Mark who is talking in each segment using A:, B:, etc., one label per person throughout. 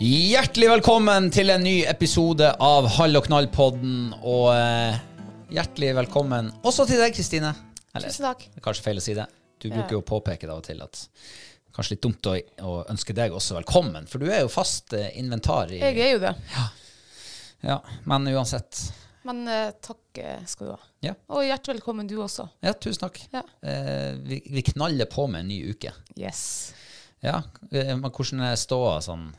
A: Hjertelig velkommen til en ny episode av Hall og knall-podden. Og eh, hjertelig velkommen også til deg, Kristine. Eller,
B: Tusen takk.
A: Det er kanskje feil å si det. Du bruker jo å påpeke det av og til at det er kanskje litt dumt å, å ønske deg også velkommen, for du er jo fast eh, inventar i
B: Jeg er jo det.
A: Ja, Men uansett.
B: Men eh, takk eh, skal du ha.
A: Ja.
B: Og hjertelig velkommen du også.
A: Ja, tusen takk.
B: Ja.
A: Eh, vi, vi knaller på med en ny uke.
B: Yes.
A: Ja, eh, Men hvordan er ståa sånn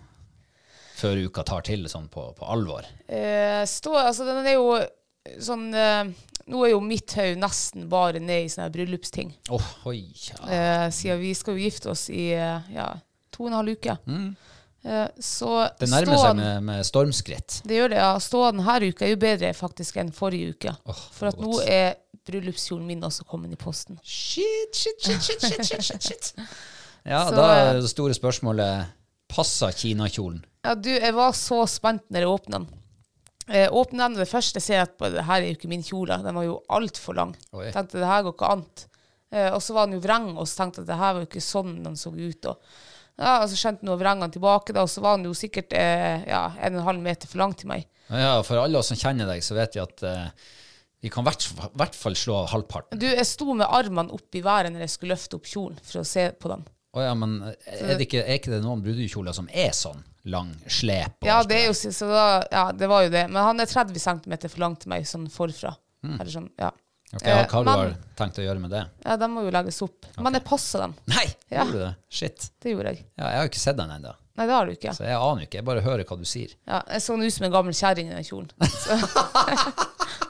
A: før uka tar til sånn på, på alvor?
B: Eh, stå, altså den er jo sånn eh, Nå er jo mitt hode nesten bare ned i sånne her bryllupsting.
A: Åh, oi, ja.
B: Eh, siden vi skal jo gifte oss i eh, ja, to og en halv uke. Eh, så
A: Mm. Det nærmer seg
B: ståen-
A: med, med stormskritt.
B: Det gjør det, ja. Ståa denne uka er jo bedre faktisk enn forrige uke.
A: Åh,
B: for at
A: godt.
B: nå er bryllupskjolen min også kommet i posten.
A: Shit, shit, shit, shit, shit, shit, shit, shit. Ja,
B: Så,
A: da er det store spørsmålet Passer kinakjolen?
B: Ja, du, jeg var så spent når jeg åpna den. Jeg åpner den, og det første jeg ser at bare, det her er jo ikke min kjole. Den var jo altfor lang.
A: Oi.
B: Jeg tenkte det her går ikke an. Eh, og så var den jo vreng, og så tenkte jeg at det her var jo ikke sånn den så ut. Og, ja, og så skjønte jeg nå vreng den tilbake, da, og så var den jo sikkert eh, ja, en og en halv meter for lang til meg.
A: Ja, for alle oss som kjenner deg, så vet vi at eh, vi kan i hvert, hvert fall slå av halvparten.
B: Du, jeg sto med armene opp i været når jeg skulle løfte opp kjolen for å se på den.
A: Å ja, men eh, er, det ikke, er ikke det noen brudekjoler som er sånn lang slep? og
B: Ja,
A: alt
B: det, er jo, så så da, ja, det var jo det. Men han er 30 cm for lang til meg, sånn forfra. Eller sånn, ja.
A: Ok,
B: Eh,
A: Hva har du
B: men-
A: har tenkt å gjøre med det?
B: Ja, de må jo legges opp. Men jeg passa dem.
A: Nei,
B: Ja.
A: gjorde du det? Shit.
B: Det gjorde jeg.
A: Ja, jeg har ikke sett den ennå,
B: Nei, det har du ikke.
A: så jeg aner ikke. Jeg bare hører hva du sier.
B: Ja, jeg så den ut som en gammel kjerring i den kjolen. Så.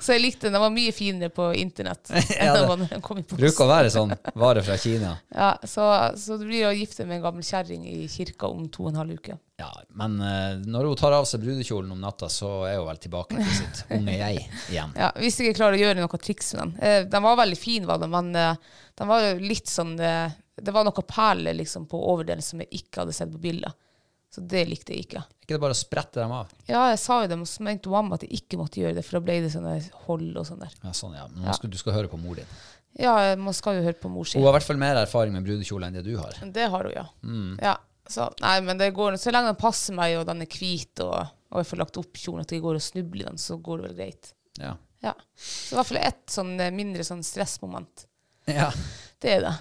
B: så jeg likte den. Den var mye finere på internett enn
A: det-
B: den var når den kom i
A: Bruker
B: posten.
A: å være sånn vare fra Kina.
B: Ja, så, så du blir å gifte med en gammel kjerring i kirka om to og en halv uke.
A: Ja, men eh, når hun tar av seg brudekjolen om natta, så er hun vel tilbake til sitt unge jeg igjen.
B: Ja, Hvis jeg ikke klarer å gjøre noe triks med den. Eh, den var veldig fin, var den, men eh, den var jo litt sånn eh, Det var noen perler liksom, på overdelen som jeg ikke hadde sett på bilder. Så det likte jeg ikke.
A: Er ikke det bare å sprette dem av?
B: Ja, jeg sa jo det, men så mente mamma at jeg ikke måtte gjøre det, for da ble det sånne hold og sånn der.
A: Ja, sånn, ja. Men nå skal, du skal høre på mor din.
B: Ja, man skal jo høre på mor si.
A: Hun har i hvert fall mer erfaring med brudekjole enn det du har.
B: Det har hun, ja. ja så, nei, men det går, så lenge den passer meg, og den er hvit, og, og jeg får lagt opp kjolen, at jeg går og snubler i den, så går det vel greit.
A: Ja.
B: Ja. Så i hvert fall ett sånn eh, mindre sånn stressmoment.
A: ja.
B: Det er det.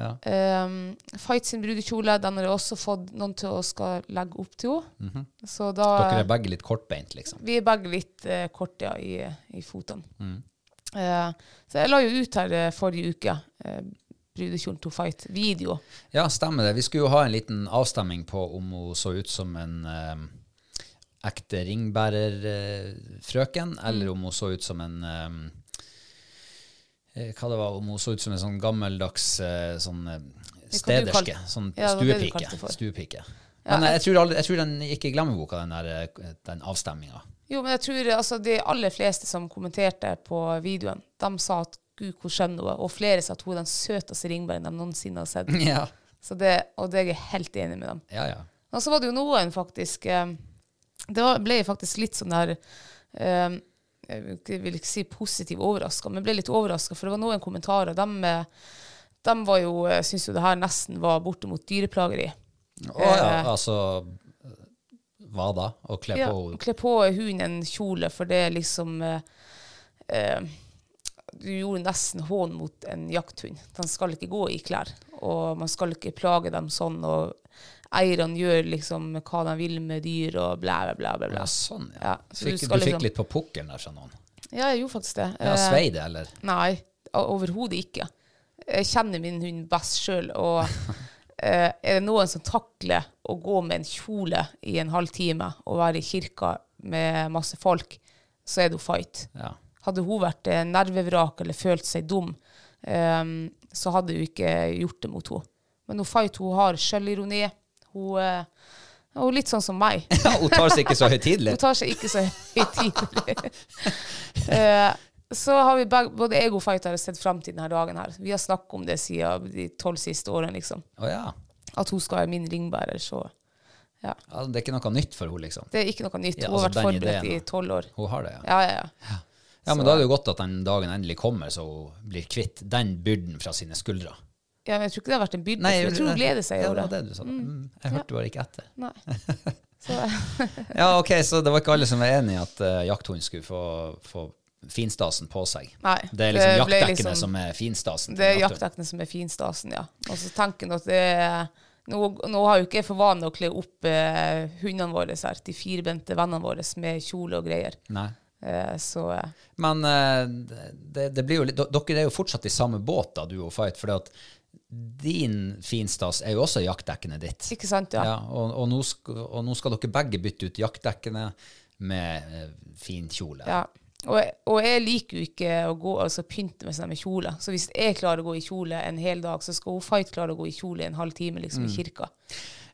A: Ja.
B: Ehm, Fight sin brudekjole, den har jeg også fått noen til å skal legge opp til henne. Så da
A: Dere er begge litt kortbeint, liksom.
B: eh, Vi er begge litt eh, korte ja, i, i fotene. Eh, så jeg la jo ut her eh, forrige uke eh, Brudekjolen to fight-video.
A: Ja, stemmer det. Vi skulle jo ha en liten avstemning på om hun så ut som en eh, ekte ringbærerfrøken, eller
B: Mm.
A: om hun så ut som en eh, eh, hva det var, om hun så ut som en sånn gammeldags eh, sånn eh,
B: kan du
A: stederske.
B: kalle-
A: Sånn
B: Ja, det var det du
A: stuepike.
B: kalte for.
A: stuepike. Men eh, jeg, tror aldri, jeg tror den gikk i glemmeboka, den, der, eh, den avstemminga.
B: Jo, men jeg tror altså, de aller fleste som kommenterte på videoen, de sa at gud, hvor skjønn hun er. Og flere sa at hun er den søteste ringbæren de noensinne har sett.
A: Ja.
B: Så det, og det er jeg helt enig med dem.
A: ja, ja.
B: Og så var det jo noen faktisk eh, Det var, ble jeg faktisk litt sånn der eh, Jeg vil ikke- vil ikke si positiv overraska, men ble litt overraska, for det var noen kommentarer. De, eh, de var jo, eh, syntes jo det her nesten var bortimot dyreplageri.
A: Å ja,
B: Eh.
A: altså Hva da? Å kle
B: Ja,
A: på
B: kle på hunden en kjole, for det er liksom eh, eh, Du gjorde nesten hån mot en jakthund. Den skal ikke gå i klær, og man skal ikke plage dem sånn. og Eierne gjør liksom hva de vil med dyr og blæ, blæ, blæ. blæ, blæ.
A: Ja, sånn, ja.
B: Ja,
A: du,
B: så du
A: fikk, du
B: skal
A: fikk
B: liksom-
A: litt på pukkelen der, sa noen.
B: Ja, jeg gjorde faktisk det.
A: Ja,
B: Eh,
A: Svei det, eller?
B: Nei, o- overhodet ikke. Jeg kjenner min hund best sjøl, og eh, er det noen som takler å gå med en kjole i en halv time og være i kirka med masse folk, så er det jo fight.
A: Ja.
B: Hadde hun vært eh, nervevrak eller følt seg dum, eh, så hadde hun ikke gjort det mot henne. Men hun fight, hun har sjølironi. Hun, eh, hun er litt sånn som meg.
A: hun tar seg ikke så høytidelig.
B: Hun tar seg ikke så høytidelig. Eh, så har vi begge, både jeg og Fighter sett fram til denne dagen her. Vi har snakket om det siden de tolv siste årene, liksom.
A: Å ja.
B: At hun skal være min ringbærer, så ja.
A: ja. Det er ikke noe nytt for henne, liksom.
B: Det er ikke noe nytt.
A: Ja,
B: hun har
A: altså,
B: vært
A: den
B: forberedt
A: ideen,
B: i tolv år.
A: Hun har det, ja.
B: Ja, ja, ja.
A: Ja, Men da er det jo godt at den dagen endelig kommer, så hun blir kvitt den byrden fra sine skuldre.
B: ja, men jeg tror ikke det har vært en byrde. for jeg tror hun gleder seg
A: ja,
B: over
A: det.
B: det.
A: var det du sa. Mm, jeg hørte bare ikke etter.
B: Nei. Så,
A: Ja, ok, Så det var ikke alle som var enig i at uh, jakthund skulle få, få finstasen på seg.
B: Nei,
A: Det er liksom
B: det ble
A: jaktdekkene
B: liksom-
A: som er finstasen. til
B: det er
A: en jakthund.
B: jaktdekkene som er finstasen, ja. Og så tanken at det er nå, nå har jo ikke jeg for vane å kle opp eh, hundene våre her, de firbente vennene våre med kjole og greier.
A: Nei.
B: Eh, så eh,
A: Men eh, det, det blir jo litt, dere er jo fortsatt i samme båt, da, du og Fight. For at din finstas er jo også jaktdekkene ditt.
B: Ikke sant, ja.
A: Ja, og, og, nå sk og nå skal dere begge bytte ut jaktdekkene med eh, fin kjole.
B: ja. Og, jeg- og jeg liker jo ikke å gå, altså pynte meg sånn med kjole. Så hvis jeg klarer å gå i kjole en hel dag, så skal hun Fight klare å gå i kjole en halv time liksom, i kirka.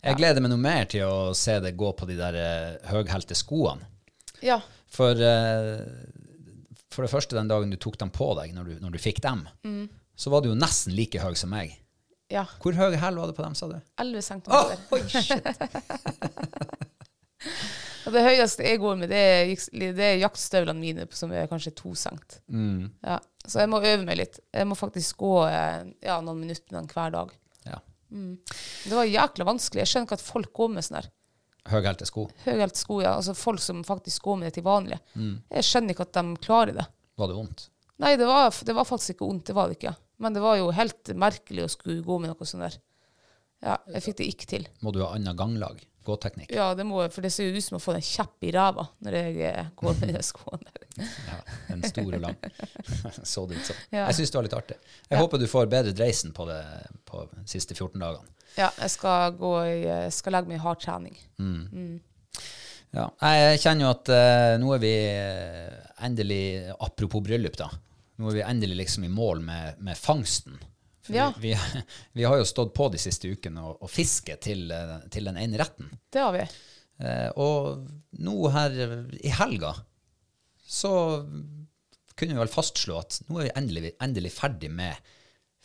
A: Jeg gleder meg noe mer til å se deg gå på de der uh, høghælte skoene.
B: Ja.
A: For, eh, for det første, den dagen du tok dem på deg, når du, når du fikk dem,
B: Mm.
A: så var du jo nesten like høy som meg.
B: ja.
A: Hvor høy hæl var det på dem, sa du?
B: 11 cm.
A: Åh, oi, shit.
B: Og det høyeste jeg går med, det er, jiks- det er jaktstøvlene mine, som er kanskje to cent. Ja. Så jeg må øve meg litt. Jeg må faktisk gå eh, ja, noen minutter med den hver dag.
A: Ja.
B: Det var jækla vanskelig. Jeg skjønner ikke at folk går med sånn her.
A: Høghælte sko.
B: høyhælte sko, ja. Altså folk som faktisk går med det til vanlig. Jeg skjønner ikke at de klarer det.
A: Var det vondt?
B: Nei, det var, det var faktisk ikke vondt, det var det ikke. Men det var jo helt merkelig å skulle gå med noe sånt der. Ja, jeg fikk det ikke til.
A: må du ha annet ganglag, gåteknikk.
B: Ja, det må jeg, for det ser jo ut som å få en kjepp i ræva når jeg eh, går med de skoene der.
A: Ja, en stor og lang. så det ut som.
B: Ja.
A: Jeg syns det var litt artig. Jeg håper du får bedre dreisen på det på de siste 14 dagene.
B: Ja, jeg skal, gå i, jeg skal legge meg i hard trening.
A: Ja. Jeg kjenner jo at eh, nå er vi eh, endelig, apropos bryllup, da. Nå er vi endelig liksom i mål med, med fangsten. For
B: Ja.
A: vi, vi, vi har jo stått på de siste ukene og, og fisket til, eh, til den ene retten.
B: Det har vi.
A: Eh, og nå her i helga så kunne vi vel fastslå at nå er vi endelig, endelig ferdig med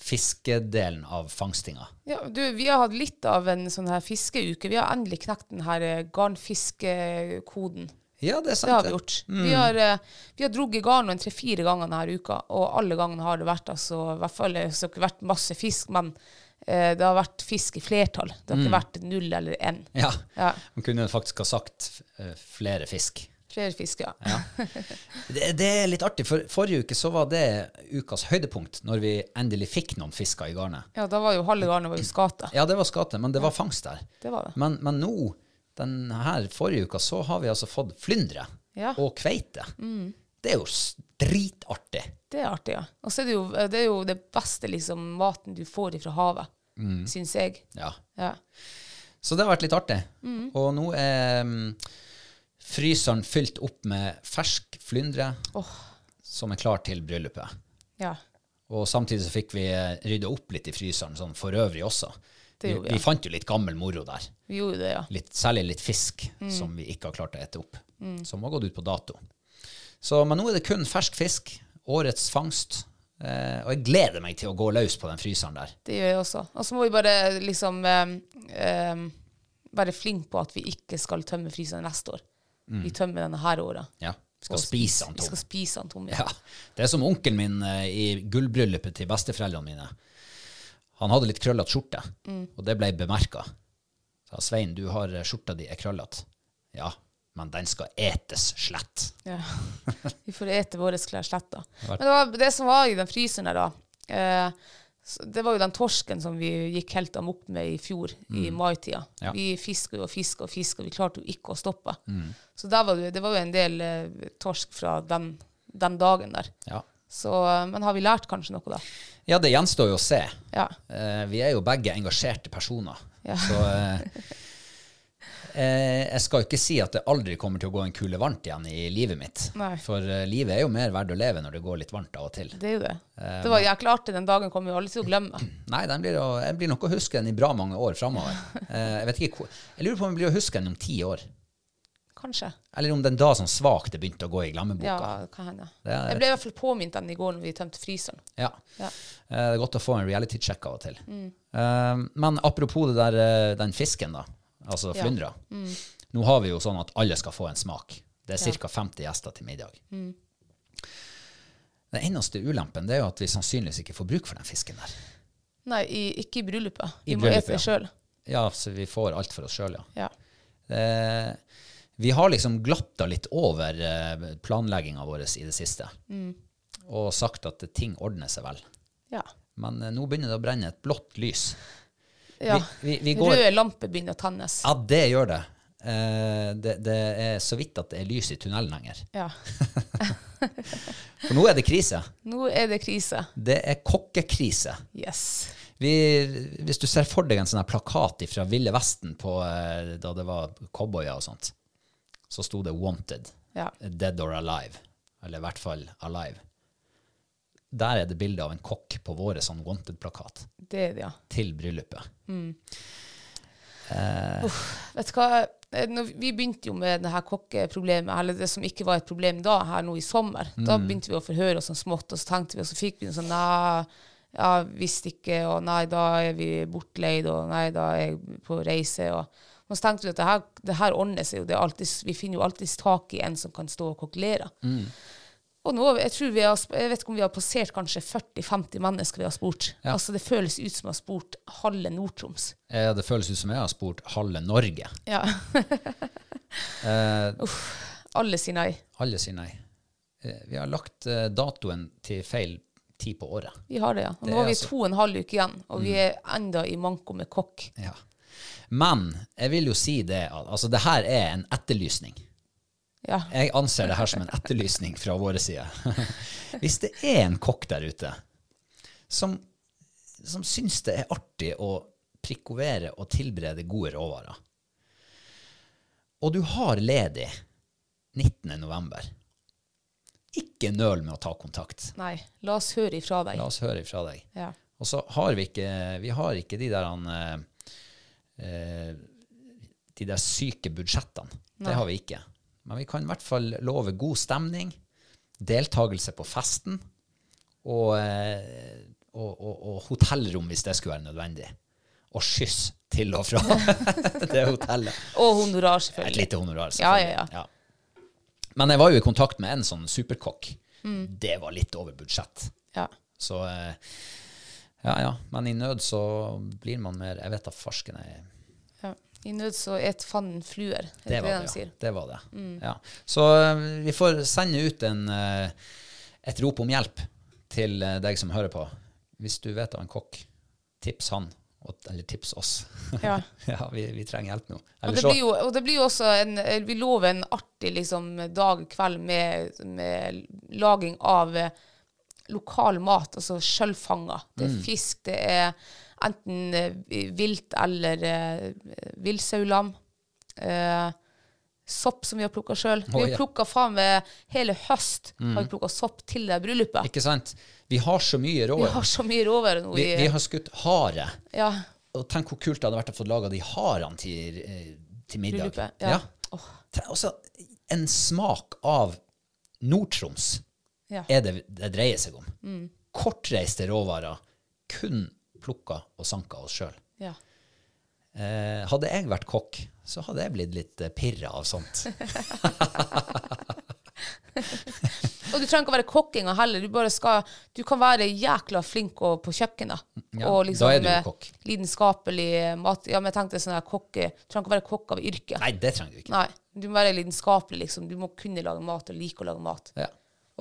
A: fiskedelen av fangstinga.
B: Ja, du, vi har hatt litt av en sånn her fiskeuke. Vi har endelig knekt den her eh, garnfiskekoden.
A: Ja, det Mm. er
B: Det
A: sant.
B: har vi gjort. Vi har, eh, vi har drugget garn tre-fire ganger denne uka, og alle gangene har det vært altså, i hvert fall eh, så har det ikke vært masse fisk, men eh, det har vært fisk i flertall. Det har ikke
A: Mm.
B: vært null eller én.
A: Ja.
B: Ja.
A: Man kunne faktisk ha sagt eh, flere fisk.
B: Flere fisk, ja.
A: Det, det er litt artig, for forrige uke så var det ukas høydepunkt, når vi endelig fikk noen fisker i garnet.
B: Ja, da var jo halve garnet var jo skata.
A: Ja, det var skate, men det var fangst der.
B: Det var det.
A: Men, men nå, den her forrige uka, så har vi altså fått flyndre
B: Ja. Mm.
A: og kveite. Det er jo s- dritartig.
B: Det er artig, ja. Og så er det jo eh, det, er jo det beste liksom, maten du får ifra havet,
A: Mm.
B: syns jeg.
A: Ja.
B: Ja.
A: Så det har vært litt artig.
B: Mm.
A: Og nå er mm, fryseren fylt opp med fersk flyndre som er klar til bryllupet.
B: ja.
A: Og samtidig så fikk vi eh, rydda opp litt i fryseren sånn for øvrig også.
B: Det
A: Vi,
B: gjorde vi, ja.
A: vi fant jo litt gammel moro der.
B: Vi gjorde det, ja.
A: Litt, særlig litt fisk
B: Mm.
A: som vi ikke har klart å ete opp. Som har gått ut på dato. Så, men nå er det kun fersk fisk. Årets fangst. Eh, og jeg gleder meg til å gå løs på den fryseren der.
B: Det gjør jeg også. Og så må vi bare liksom ehm, ehm, være flinke på at vi ikke skal tømme fryseren neste år. Vi tømmer denne her året.
A: Ja, Mm. skal
B: Og
A: spise den
B: Vi skal
A: tom.
B: spise den tom, ja.
A: Ja, det er som onkelen min eh, i gullbryllupet til besteforeldrene mine. Han hadde litt krøllete skjorte,
B: Mm.
A: og det ble bemerka. Sa Svein, du har eh, skjorta di er krøllete. Ja, men den skal etes slett.
B: Ja. Vi får ete våre klær slett, da. Men det, var, det som var i den fryseren der, da, eh, så det var jo den torsken som vi gikk helt amok med i fjor, i maitida.
A: Mm. Ja.
B: Vi fiska jo og fiska og fiska, vi klarte jo ikke å stoppe.
A: Mm.
B: Så der var det, det var jo en del eh, torsk fra den, den dagen der.
A: Ja.
B: Så, men har vi lært kanskje noe, da?
A: ja, det gjenstår jo å se.
B: Ja.
A: Eh, vi er jo begge engasjerte personer.
B: Ja.
A: Så eh, eh, jeg skal ikke si at det aldri kommer til å gå en kule varmt igjen i livet mitt.
B: Nei.
A: For eh, livet er jo mer verdt å leve når det går litt varmt av og til.
B: Det er jo det.
A: Eh,
B: Det var jækla artig den dagen, kommer vi aldri til å glemme.
A: Nei, den blir, å, jeg blir nok å huske den i bra mange år framover. Eh, jeg, vet ikke, hvor- jeg lurer på om jeg blir å huske den om ti år.
B: Kanskje.
A: Eller om den da som svakt er begynt å gå i glammeboka.
B: Ja,
A: Ja.
B: hva hender.
A: Det er-
B: Jeg ble i hvert fall påminnet den i går når vi tømte fryseren. Ja. Mm.
A: Eh, det er godt å få en reality check av og til. Eh, men apropos det der, eh, den fisken, da. Altså
B: Ja. Mm.
A: flyndra. Nå har vi jo sånn at alle skal få en smak. Det er ca. 50 gjester til middag.
B: Mm.
A: Den eneste ulempen det er jo at vi sannsynligvis ikke får bruk for den fisken der.
B: Nei, i, ikke i bryllupet.
A: I
B: Vi må
A: bryllupet,
B: ete det
A: ja.
B: sjøl.
A: Ja, så vi får alt for oss sjøl, ja.
B: Ja.
A: Eh, vi har liksom glatta litt over eh, planlegginga vår i det siste.
B: Mm.
A: Og sagt at ting ordner seg vel.
B: Ja.
A: Men eh, nå begynner det å brenne et blått lys.
B: ja.
A: Vi, vi, vi går,
B: Røde lamper begynner å tennes.
A: ja, det gjør det. Eh, det. Det er så vidt at det er lys i tunnelen lenger.
B: Ja.
A: For nå er det krise.
B: Nå er det krise.
A: Det er kokkekrise.
B: Yes.
A: Vi, hvis du ser for deg en sånn her plakat fra Ville Vesten på, eh, da det var cowboyer og sånt, så sto det 'Wanted'.
B: Ja.
A: Dead or alive. Eller i hvert fall alive. Der er det bilde av en kokk på vår sånn wanted-plakat
B: Det er det, ja.
A: til bryllupet.
B: Vet du hva? Eh, Når vi begynte jo med det her kokkeproblemet, eller det som ikke var et problem da, her nå i sommer. Da begynte vi å forhøre oss sånn smått, og så tenkte vi, og så fikk vi en sånn Nei, ja, visste ikke, og nei, da er vi bortleid, og nei, da er jeg på reise, og og så tenkte vi at det her, det her ordner seg jo. Det er alltid, vi finner jo alltid tak i en som kan stå og kokkelere. Og nå, jeg, tror vi har, sp- jeg vet ikke om vi har passert kanskje 40-50 mennesker vi har spurt.
A: Ja.
B: Altså, Det føles ut som vi har spurt halve Nord-Troms.
A: Eh, Det føles ut som jeg har spurt halve Norge.
B: Ja.
A: Eh,
B: Alle sier nei.
A: Alle sier nei. Eh, Vi har lagt eh, datoen til feil tid på året.
B: Vi har det, ja. Og
A: Det
B: nå
A: er
B: har vi
A: altså- Mm.
B: to og en halv uke igjen, og vi er enda i manko med kokk.
A: Ja. Men jeg vil jo si det at altså, det her er en etterlysning.
B: Ja.
A: Jeg anser det her som en etterlysning fra våre side. Hvis det er en kokk der ute som, som syns det er artig å prikovere og tilberede gode råvarer, og du har ledig 19. november, ikke nøl med å ta kontakt.
B: Nei, la oss høre ifra deg.
A: La oss høre ifra deg.
B: Ja.
A: Og så har vi ikke, vi har ikke de der han, eh, eh, de der syke budsjettene. Det har vi ikke. Men vi kan i hvert fall love god stemning, deltakelse på festen og, eh, og, og, og hotellrom hvis det skulle være nødvendig. Og skyss til og fra det hotellet.
B: Og honorar,
A: Et
B: selvfølgelig.
A: lite honorar,
B: Ja, ja,
A: selvfølgelig.
B: ja.
A: Men jeg var jo i kontakt med en sånn superkokk.
B: Mm.
A: Det var litt over budsjett.
B: Ja.
A: Så eh, ja, ja. Men i nød så blir man mer Jeg vet da farsken jeg
B: Ja. I nød så et fanden fluer, er
A: Det
B: det det
A: var
B: de
A: det, ja.
B: sier. Mm.
A: Det var det. Ja. Så eh, vi får sende ut en, eh, et rop om hjelp til eh, deg som hører på. Hvis du vet av en kokk, tips han og- eller tips oss.
B: Ja.
A: ja, vi, vi trenger hjelp nå.
B: Og
A: Eller
B: det,
A: så,
B: blir jo, og det blir jo også en Vi lover en artig liksom, dag kveld med, med laging av eh, lokal mat, altså sjølfanga. Det
A: Mm.
B: er fisk, det er enten eh, vilt eller eh, villsaulam. Eh, sopp som vi har plukka sjøl. Vi
A: Å,
B: har
A: ja.
B: plukka faen meg hele høst har vi plukka sopp til det bryllupet.
A: Mm. ikke sant? Vi har så mye
B: Vi
A: råd.
B: har så mye råvarer nå.
A: Vi,
B: i-
A: vi har skutt hare.
B: ja,
A: Og tenk hvor kult det hadde vært å få laga de harene til, eh, til middag.
B: bryllupet. Ja. Åh,
A: Tre- Også altså, en smak av Nord-Troms
B: ja.
A: er det det dreier seg om. Kortreiste råvarer, kun plukka og sanka oss sjøl.
B: ja.
A: Eh, hadde jeg vært kokk, så hadde jeg blitt litt eh, pirra av sånt.
B: Og du trenger ikke å være kokkinga heller. Du, bare skal, du kan være jækla flink og på kjøkkenet.
A: Ja,
B: og
A: da er du jo
B: eh,
A: kokk.
B: Lidenskapelig eh, mat... Ja, men jeg tenkte sånn her kokke Du trenger ikke å være kokk av yrke.
A: Nei, det trenger du ikke.
B: Nei, Du må være lidenskapelig, liksom. Du må kunne lage mat og like å lage mat.
A: Ja.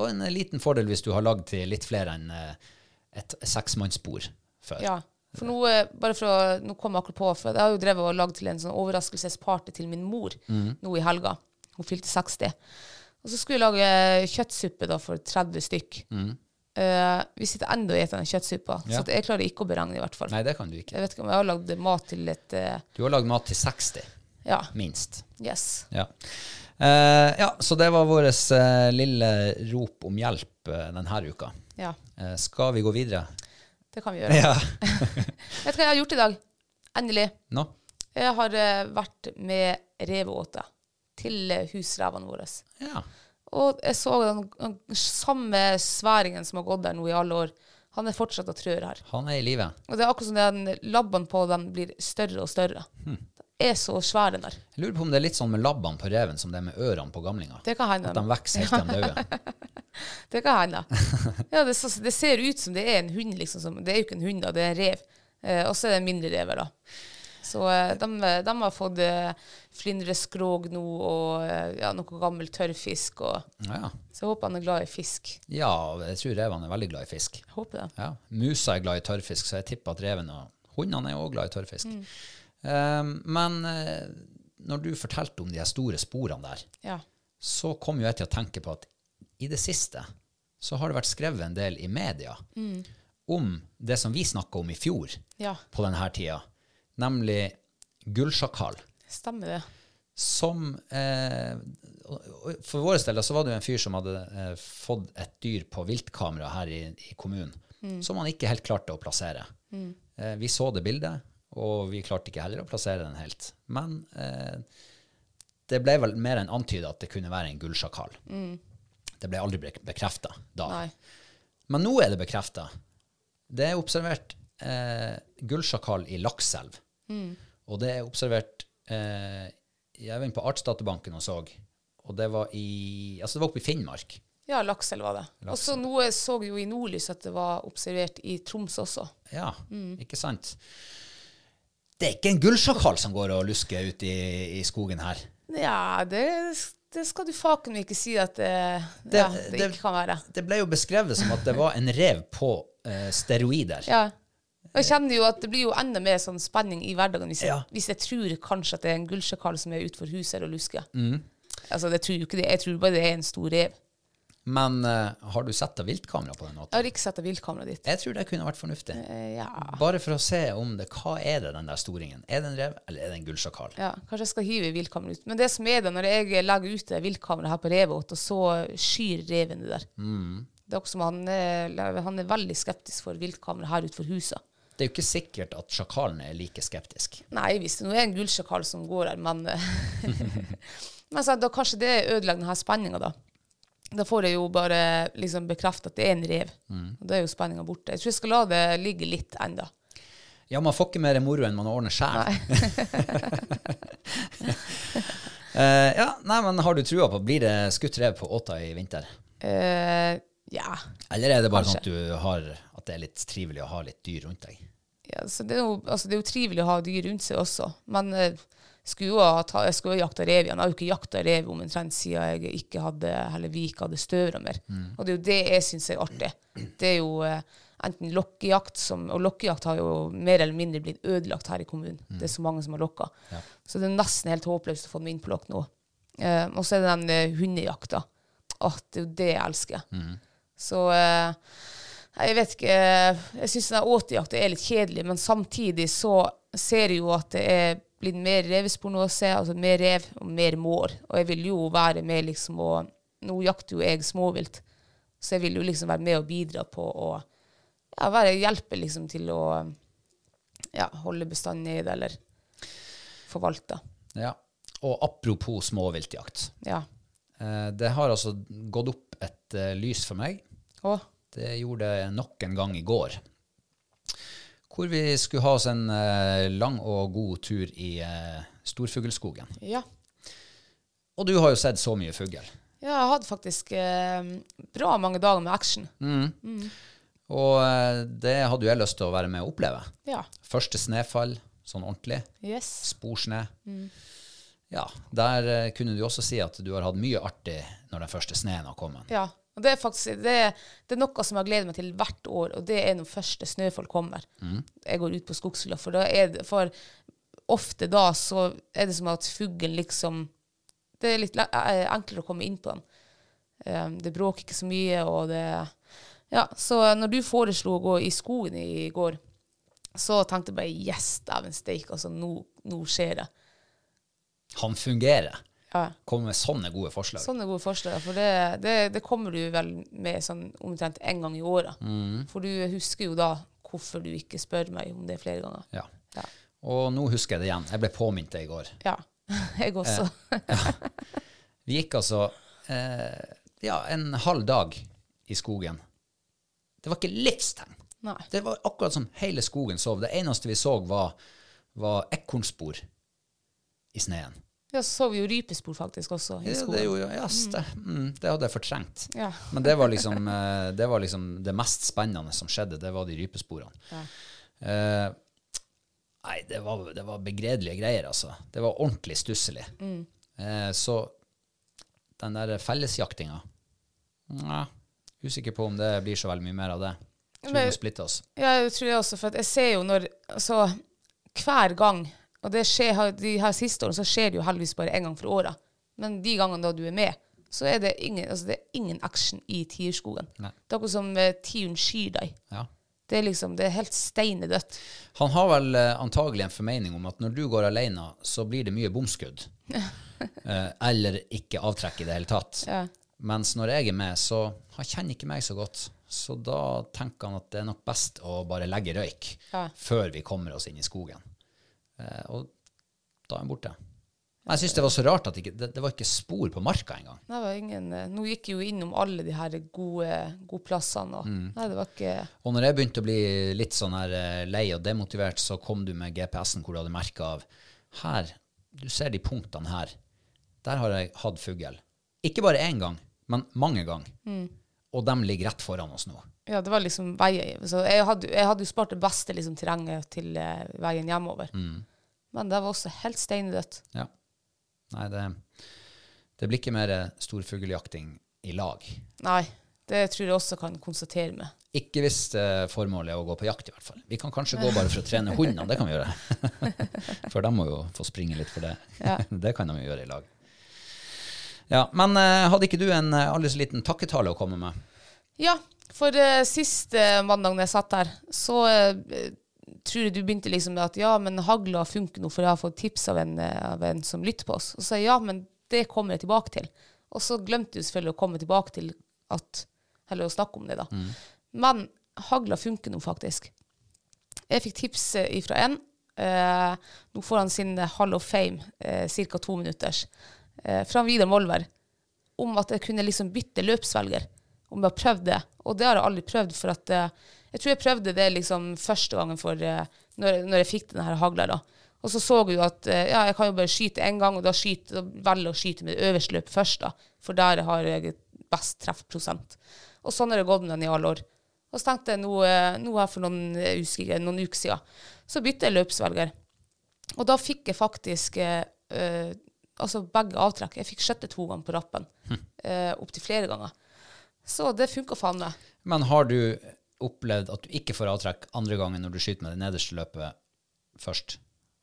A: Og en eh, liten fordel hvis du har lagd til litt flere enn eh, et seksmannsbord før.
B: Ja. For nå, eh, bare for å, nå kom jeg akkurat på, for jeg har jo drevet og lagd til en sånn overraskelsesparty til min mor
A: Mhm.
B: nå i helga. Hun fylte 60. Og så skulle jeg lage eh, kjøttsuppe da for 30 stykk. Eh, vi sitter ennå og spiser den kjøttsuppa,
A: Mhm. Ja.
B: så at jeg klarer ikke å beregne i hvert fall.
A: Nei, det kan du ikke.
B: Jeg vet ikke om jeg har lagd mat til et eh,
A: Du har lagd mat til 60,
B: Ja.
A: minst.
B: Yes.
A: Ja. Eh, ja, så det var vårt lille rop om hjelp eh, denne uka.
B: Ja.
A: Eh, skal vi gå videre?
B: Det kan vi gjøre. Vet du hva jeg har gjort i dag? Endelig.
A: Nå?
B: Jeg har eh, vært med reveåte til eh, husrevene våre.
A: Ja.
B: Og jeg så den, den samme sværingen som har gått der nå i alle år. Han er fortsatt og trør her.
A: Han er i live.
B: Og det er akkurat som den labben på den blir større og større. Den er så svær, den der.
A: Jeg lurer på om det er litt sånn med labbene på reven som det er med ørene på gamlinger.
B: Det kan hende.
A: At de vokser helt til de dauer.
B: Det kan hende. Ja, det, så, det ser ut som det er en hund, liksom. Som, det er jo ikke en hund, da, det er en rev. Eh, og så er det en mindre rever, da. Så eh, de, de har fått eh, flyndreskrog nå, og eh, ja, noe gammel tørrfisk. Og,
A: Ja, ja.
B: så jeg håper han er glad i fisk.
A: ja, jeg tror revene er veldig glad i fisk.
B: Jeg håper det.
A: Ja. Musa er glad i tørrfisk, så jeg tipper at reven og hundene er også glad i tørrfisk. Eh, men eh, når du fortalte om de her store sporene der,
B: Ja.
A: så kom jo jeg til å tenke på at i det siste så har det vært skrevet en del i media om det som vi snakka om i fjor
B: ja.
A: på denne tida, nemlig gullsjakal.
B: Stemmer det.
A: Som eh, og- og For vår del da, så var det jo en fyr som hadde eh, fått et dyr på viltkamera her i, i kommunen, som han ikke helt klarte å plassere. Eh, vi så det bildet, og vi klarte ikke heller å plassere den helt. Men eh, det ble vel mer enn antyda at det kunne være en gullsjakal. Det ble aldri bekrefta da.
B: Nei.
A: Men nå er det bekrefta. Det er observert eh, gullsjakal i Lakselv.
B: Mm.
A: Og det er observert eh, Jeg var inne på Artsdatabanken og så, og det var i Altså, det var oppe i Finnmark.
B: Ja, lakselv var det. Og så nå jeg så jo i nordlys at det var observert i Troms også.
A: Ja,
B: Mm.
A: ikke sant? Det er ikke en gullsjakal som går og lusker ute i, i skogen her.
B: Ja, det, det skal du faken meg ikke si at det,
A: Det-
B: ja, det,
A: det-
B: ikke kan være.
A: Det ble jo beskrevet som at det var en rev på eh, steroider.
B: Ja. Og jeg kjenner jo at det blir jo enda mer sånn spenning i hverdagen hvis jeg,
A: Ja.
B: hvis jeg tror kanskje at det er en gullsjakal som er utenfor huset her og lusker.
A: Mm.
B: Altså, det tror jo ikke det. Jeg tror bare det er en stor rev.
A: Men eh, har du sett av viltkamera på den måten?
B: Jeg har ikke sett av viltkameraet ditt.
A: Jeg tror det kunne vært fornuftig.
B: Eh, Ja.
A: Bare for å se om det, hva er det den der storingen? Er det en rev, eller er det en gullsjakal?
B: ja. Kanskje jeg skal hive viltkameraet ut. Men det som er det, når jeg legger ut det viltkameraet her på revet, og så skyr reven det der. Det er også som han, er, han er veldig skeptisk for viltkamera her utenfor huset.
A: Det er jo ikke sikkert at sjakalen er like skeptisk.
B: Nei, hvis det nå er en gullsjakal som går her, men, eh, men så, da kanskje det ødelegger denne spenninga, da. Da får jeg jo bare liksom bekrefta at det er en rev. Og da er jo spenninga borte. Jeg tror jeg skal la det ligge litt ennå.
A: Ja, man får ikke mer moro enn man ordner sjæl. Eh, ja, nei, men har du trua på Blir det skutt rev på åta i vinter?
B: Eh, ja.
A: Eller er det bare sånn
B: Kanskje.
A: at, du har, at det er litt trivelig å ha litt dyr rundt deg?
B: ja så det, er jo, altså, det er jo trivelig å ha dyr rundt seg også, men eh, skulle jo ha ta, jeg skulle jo jakta rev igjen. Jeg har jo ikke jakta rev omtrent siden jeg ikke hadde, eller vi ikke hadde støvra mer. Og det er jo det jeg syns er artig. Det er jo eh, enten lokkejakt som, Og lokkejakt har jo mer eller mindre blitt ødelagt her i kommunen. Det er så mange som har lokka. Så det er nesten helt håpløst å få dem inn på lokk nå. Eh, og så er det den eh, hundejakta. Åh, det er jo det jeg elsker. Så eh, Nei, Jeg vet ikke. eh, Jeg syns åtejakta er litt kjedelig, men samtidig så ser jeg jo at det er blitt mer revespor nå å se. Altså mer rev og mer mår. Og jeg vil jo være med liksom og Nå jakter jo jeg småvilt, så jeg vil jo liksom være med og bidra på å ja, være, hjelpe liksom til å ja, holde bestanden nede eller forvalte.
A: Ja. Og apropos småviltjakt.
B: Ja.
A: Eh, Det har altså gått opp et eh, lys for meg.
B: Og
A: Det gjorde det nok en gang i går. Hvor vi skulle ha oss en eh, lang og god tur i eh, Storfuglskogen.
B: ja.
A: Og du har jo sett så mye fugl.
B: Ja, jeg hadde faktisk eh, bra mange dager med action.
A: Og eh, det hadde jo jeg lyst til å være med og oppleve.
B: Ja.
A: Første snøfall, sånn ordentlig.
B: Yes.
A: Sporsnø. Ja, der eh, kunne du også si at du har hatt mye artig når den første sneen har kommet.
B: Ja. Og det er faktisk det, er- det er noe som jeg gleder meg til hvert år, og det er når første snøfall kommer. Jeg går ut på skogsfugler, for da er det For ofte da så er det som at fuglen liksom Det er litt le- eh, enklere å komme inn på den. Eh, det bråker ikke så mye, og det Ja, så når du foreslo å gå i skogen i går, så tenkte jeg bare Yes, dæven steik, altså, nå, nå skjer det.
A: Han fungerer.
B: Ja.
A: Kommer med sånne gode forslag.
B: Sånne gode forslag. For det, det, det kommer du vel med sånn omtrent en gang i året.
A: Mm.
B: For du husker jo da hvorfor du ikke spør meg om det flere ganger.
A: Ja.
B: Ja.
A: Og nå husker jeg det igjen. Jeg ble påminnet det i går.
B: Ja. Jeg også.
A: Vi gikk altså eh, ja, en halv dag i skogen. Det var ikke livstegn.
B: Nei.
A: Det var akkurat som hele skogen sov. Det eneste vi så, var, var ekornspor i sneen.
B: Ja, så så vi jo rypespor faktisk også i
A: Ja, det,
B: skogen.
A: gjorde jo- ja, det, mm, det hadde jeg fortrengt.
B: Ja.
A: Men det var, liksom, eh, det var liksom det mest spennende som skjedde, det var de rypesporene. Eh, nei, det var, det var begredelige greier, altså. Det var ordentlig stusselig.
B: Mm.
A: Eh, så den der fellesjaktinga Nei, usikker på om det blir så veldig mye mer av det. Tror vi
B: Men-
A: må splitte oss.
B: Ja, jeg tror det også, for at jeg ser jo når Altså, hver gang Og det skjer har- de her siste årene, så skjer det jo heldigvis bare én gang for året. Men de gangene da du er med, så er det ingen, altså, det er ingen action i Tierskogen.
A: Nei.
B: Det er akkurat som eh, tiuren skyr deg.
A: Ja.
B: Det er liksom, det er helt steinedødt.
A: Han har vel eh, antagelig en formening om at når du går alene, så blir det mye bomskudd. Eh, eller ikke avtrekk i det hele tatt.
B: Ja.
A: Mens når jeg er med, så han kjenner ikke meg så godt. Så da tenker han at det er nok best å bare legge røyk
B: Ja.
A: før vi kommer oss inn i skogen. Eh, og da er han borte. Men jeg syns det var så rart at ikke, det, det var ikke spor på marka engang.
B: Nei, Det var ingen, eh, nå gikk jeg jo innom alle de her gode, gode plassene. Og, Nei, det var ikke
A: Og når jeg begynte å bli litt sånn her eh, lei og demotivert, så kom du med GPS-en hvor du hadde merka av Her, du ser de punktene her. Der har jeg hatt fugl. Ikke bare én gang, men mange ganger. Og de ligger rett foran oss nå.
B: Ja, det var liksom veier. Så jeg hadde, jeg hadde jo spart det beste liksom, terrenget til eh, veien hjemover. Men det var også helt steinedødt.
A: Ja. Nei, det, det blir ikke mer eh, storfugljakting i lag.
B: Nei, det tror jeg også kan konstatere med.
A: Ikke hvis eh, formålet er å gå på jakt, i hvert fall. Vi kan kanskje gå bare for å trene hundene, det kan vi gjøre. For de må jo få springe litt for det. Det kan de jo gjøre i lag. Ja, Men eh, hadde ikke du en eh, aldri så liten takketale å komme med?
B: Ja, for eh, siste mandag når jeg satt her, så eh, tror jeg du begynte liksom med at ja, men hagla funker nå, for jeg har fått tips av en, eh, av en som lytter på oss. Og så sa jeg ja, men det kommer jeg tilbake til. Og så glemte du selvfølgelig å komme tilbake til at, eller å snakke om det, da. Men hagla funker nå faktisk. Jeg fikk tips eh, ifra en. Eh, nå får han sin Hall of Fame, eh, ca. to minutters, eh, fra Vidar Molvær, om at jeg kunne liksom bytte løpsvelger. Om jeg har prøvd det. Og det har jeg aldri prøvd, for at eh, jeg tror jeg prøvde det liksom første gangen for eh, når, når jeg fikk den her hagla, da. Og så så jeg jo at eh, ja, jeg kan jo bare skyte én gang, og da, skyter, da velger jeg å skyte med det øverste løpet først, da. For der har jeg best treffprosent. Og sånn har det gått med den i alle år. Og så tenkte jeg nå, eh, nå her for noen, eh, jeg husker ikke, noen uker siden, så bytte jeg løpsvelger. Og da fikk jeg faktisk eh, eh, altså begge avtrekk. Jeg fikk skjøttet to ganger på
A: Hm.
B: rappen. Eh, Opptil flere ganger. Så det funka faen meg.
A: Men har du opplevd at du ikke får avtrekk andre gangen når du skyter med det nederste løpet først?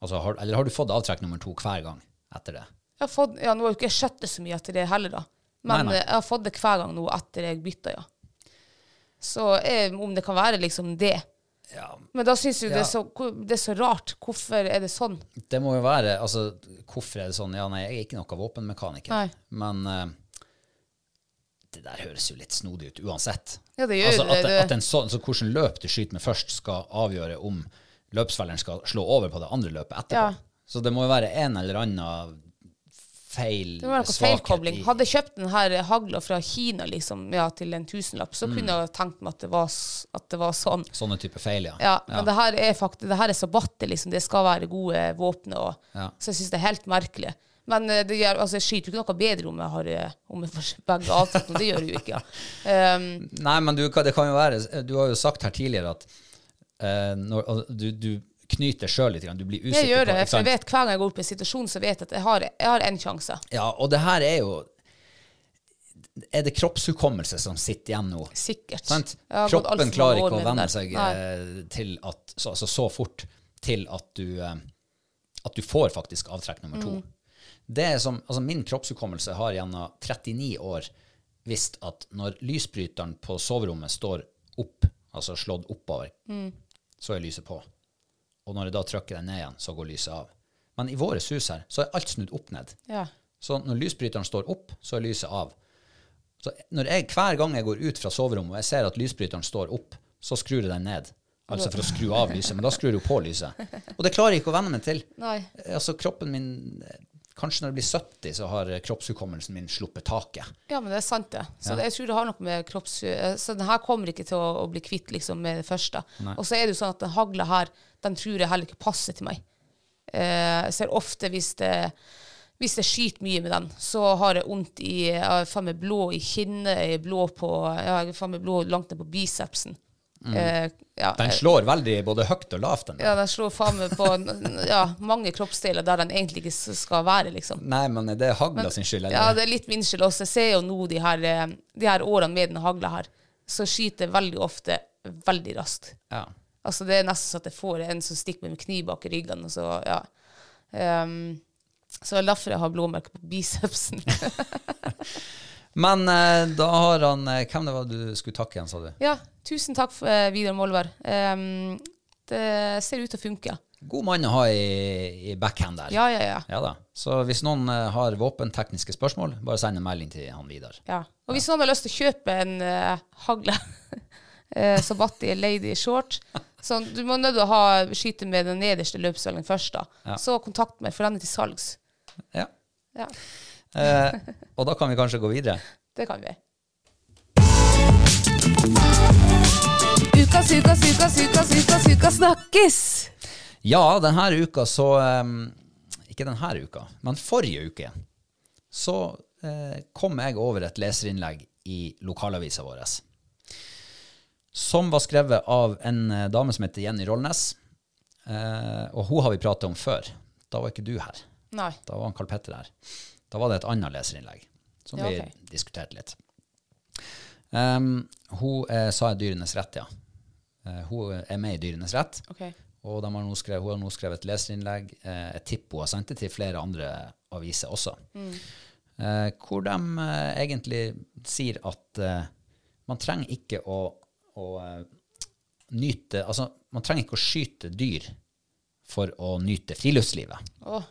A: Altså, har, eller har du fått avtrekk nummer to hver gang etter det?
B: Jeg har fått, ja, nå har jo ikke jeg skjøtt det så mye etter det heller, da. Men
A: Nei, nei.
B: eh, jeg har fått det hver gang nå etter jeg bytta, ja. Så eh, om det kan være liksom det. Men da syns jo
A: Ja.
B: det, er så, hvor- det er så rart. Hvorfor er det sånn?
A: Det må jo være altså, Hvorfor er det sånn? Ja, nei, jeg er ikke noen våpenmekaniker.
B: Nei.
A: Men eh, det der høres jo litt snodig ut uansett.
B: Ja, det gjør
A: Altså,
B: jo
A: at,
B: det.
A: at en sånn, så hvordan løp du skyter med først, skal avgjøre om løpsfelleren skal slå over på det andre løpet etterpå.
B: Ja.
A: Så det må jo være en eller annen feil
B: Det må være noe
A: svakhet
B: feilkobling.
A: i-
B: Hadde jeg kjøpt den her hagla fra Kina liksom, ja, til en tusenlapp,
A: Mm.
B: så kunne jeg ha tenkt meg at det var, s- at det var sånn.
A: Sånne type feil, ja.
B: Ja, men det her er faktisk, det her er sabatter, liksom. Det skal være gode våpen. Og,
A: Ja.
B: Så jeg syns det er helt merkelig. Men eh, det gjør, altså, jeg skyter jo ikke noe bedre om jeg har eh, om jeg får begge avtrekkene. Det gjør jeg jo ikke. Um,
A: Nei, men du, hva- det kan jo være Du har jo sagt her tidligere at eh, når, altså, du, du knyter sjøl litt, grann, du blir usikker
B: jeg
A: på
B: gjør det,
A: ikke
B: for
A: sant?
B: jeg vet hver gang jeg går opp i en situasjon, så vet jeg at jeg har, jeg har en sjanse.
A: Ja, og det her er jo Er det kroppshukommelse som sitter igjen nå?
B: Sikkert.
A: Sant?
B: Jeg har gått alt for
A: Kroppen
B: mange
A: klarer
B: år
A: ikke å
B: med altså, det
A: venne
B: der.
A: seg
B: Nei.
A: eh, til at, så, altså, så fort til at du, eh, at du får faktisk avtrekk nummer to.
B: Mm.
A: Det er som, altså, min kroppshukommelse har gjennom 39 år visst at når lysbryteren på soverommet står opp, altså slått oppover,
B: Mm.
A: så er lyset på. Og når jeg da trykker den ned igjen, så går lyset av. Men i våre hus her, så er alt snudd opp ned.
B: Ja.
A: Så når lysbryteren står opp, så er lyset av. Så når jeg, hver gang jeg går ut fra soverommet og jeg ser at lysbryteren står opp, så skrur jeg den ned. Altså for å skru av lyset, men da skrur du på lyset. Og det klarer jeg ikke å venne meg til.
B: Nei.
A: Altså kroppen min, eh, Kanskje når jeg blir 70, så har eh, kroppshukommelsen min sluppet taket.
B: Ja, men det er sant, det. Så det, jeg tror det har noe med kropps... eh, Så den her kommer ikke til å, å bli kvitt liksom, med det første. Og så er det jo sånn at den hagla her, den tror jeg heller ikke passer til meg. Eh, jeg ser ofte hvis det hvis jeg skyter mye med den, så har jeg vondt i Jeg er faen meg blå i kinnet, jeg er blå på ja, Jeg er faen meg blå langt ned på bicepsen. Eh, ja,
A: Den
B: jeg-
A: slår veldig både høyt og lavt. den der.
B: ja, den slår faen meg på ja, mange kroppsdeler der den egentlig ikke s- skal være, liksom.
A: Nei, men er det er hagla sin skyld.
B: Ja,
A: Eller?
B: det er litt min skyld også. Jeg ser jo nå de her, eh, de her årene med den hagla her, så skyter jeg veldig ofte veldig raskt.
A: Ja.
B: Altså det er nesten så at jeg får en som stikker meg med kniv bak i ryggen, og så, ja. Ehm, så det er derfor jeg har blåmerker på bicepsen.
A: Men eh, da har han eh, Hvem det var du skulle takke igjen, sa du?
B: ja, tusen takk, for, eh, Vidar Molvær. Ehm, det ser ut til å funke.
A: God mann å ha i, i backhand der.
B: Ja, ja, ja.
A: Ja da. Så hvis noen eh, har våpentekniske spørsmål, bare send en melding til han Vidar.
B: ja. Og hvis noen har lyst til å kjøpe en eh, hagle, uh, Sabatti Lady Short så Du må nødt til å ha, skyte med den nederste løpsvelgen først, da. Så kontakt meg, for den er til salgs.
A: Ja.
B: Ja,
A: Eh, og da kan vi kanskje gå videre.
B: det kan vi.
C: Ukas, ukas, ukas, ukas, ukas, ukas snakkes!
A: Ja, denne uka så eh, Ikke denne uka, men forrige uke så eh, kom jeg over et leserinnlegg i lokalavisa vår som var skrevet av en eh, dame som heter Jenny Rollnes. Eh, og hun har vi pratet om før. Da var ikke du her.
B: Nei.
A: Da var han Karl Petter her. Da var det et annet leserinnlegg som
B: Ja, ok.
A: vi diskuterte litt. Ehm, hun eh, sa i Dyrenes rett, ja. Eh, hun er med i Dyrenes rett.
B: Ok.
A: Og de har nå skrevet, hun har nå skrevet et leserinnlegg, eh, et tipp hun har sendt det til flere andre aviser også,
B: Mm.
A: eh, hvor de eh, egentlig sier at eh, man trenger ikke å, å eh, nyte, altså man trenger ikke å skyte dyr for å nyte friluftslivet.
B: Å,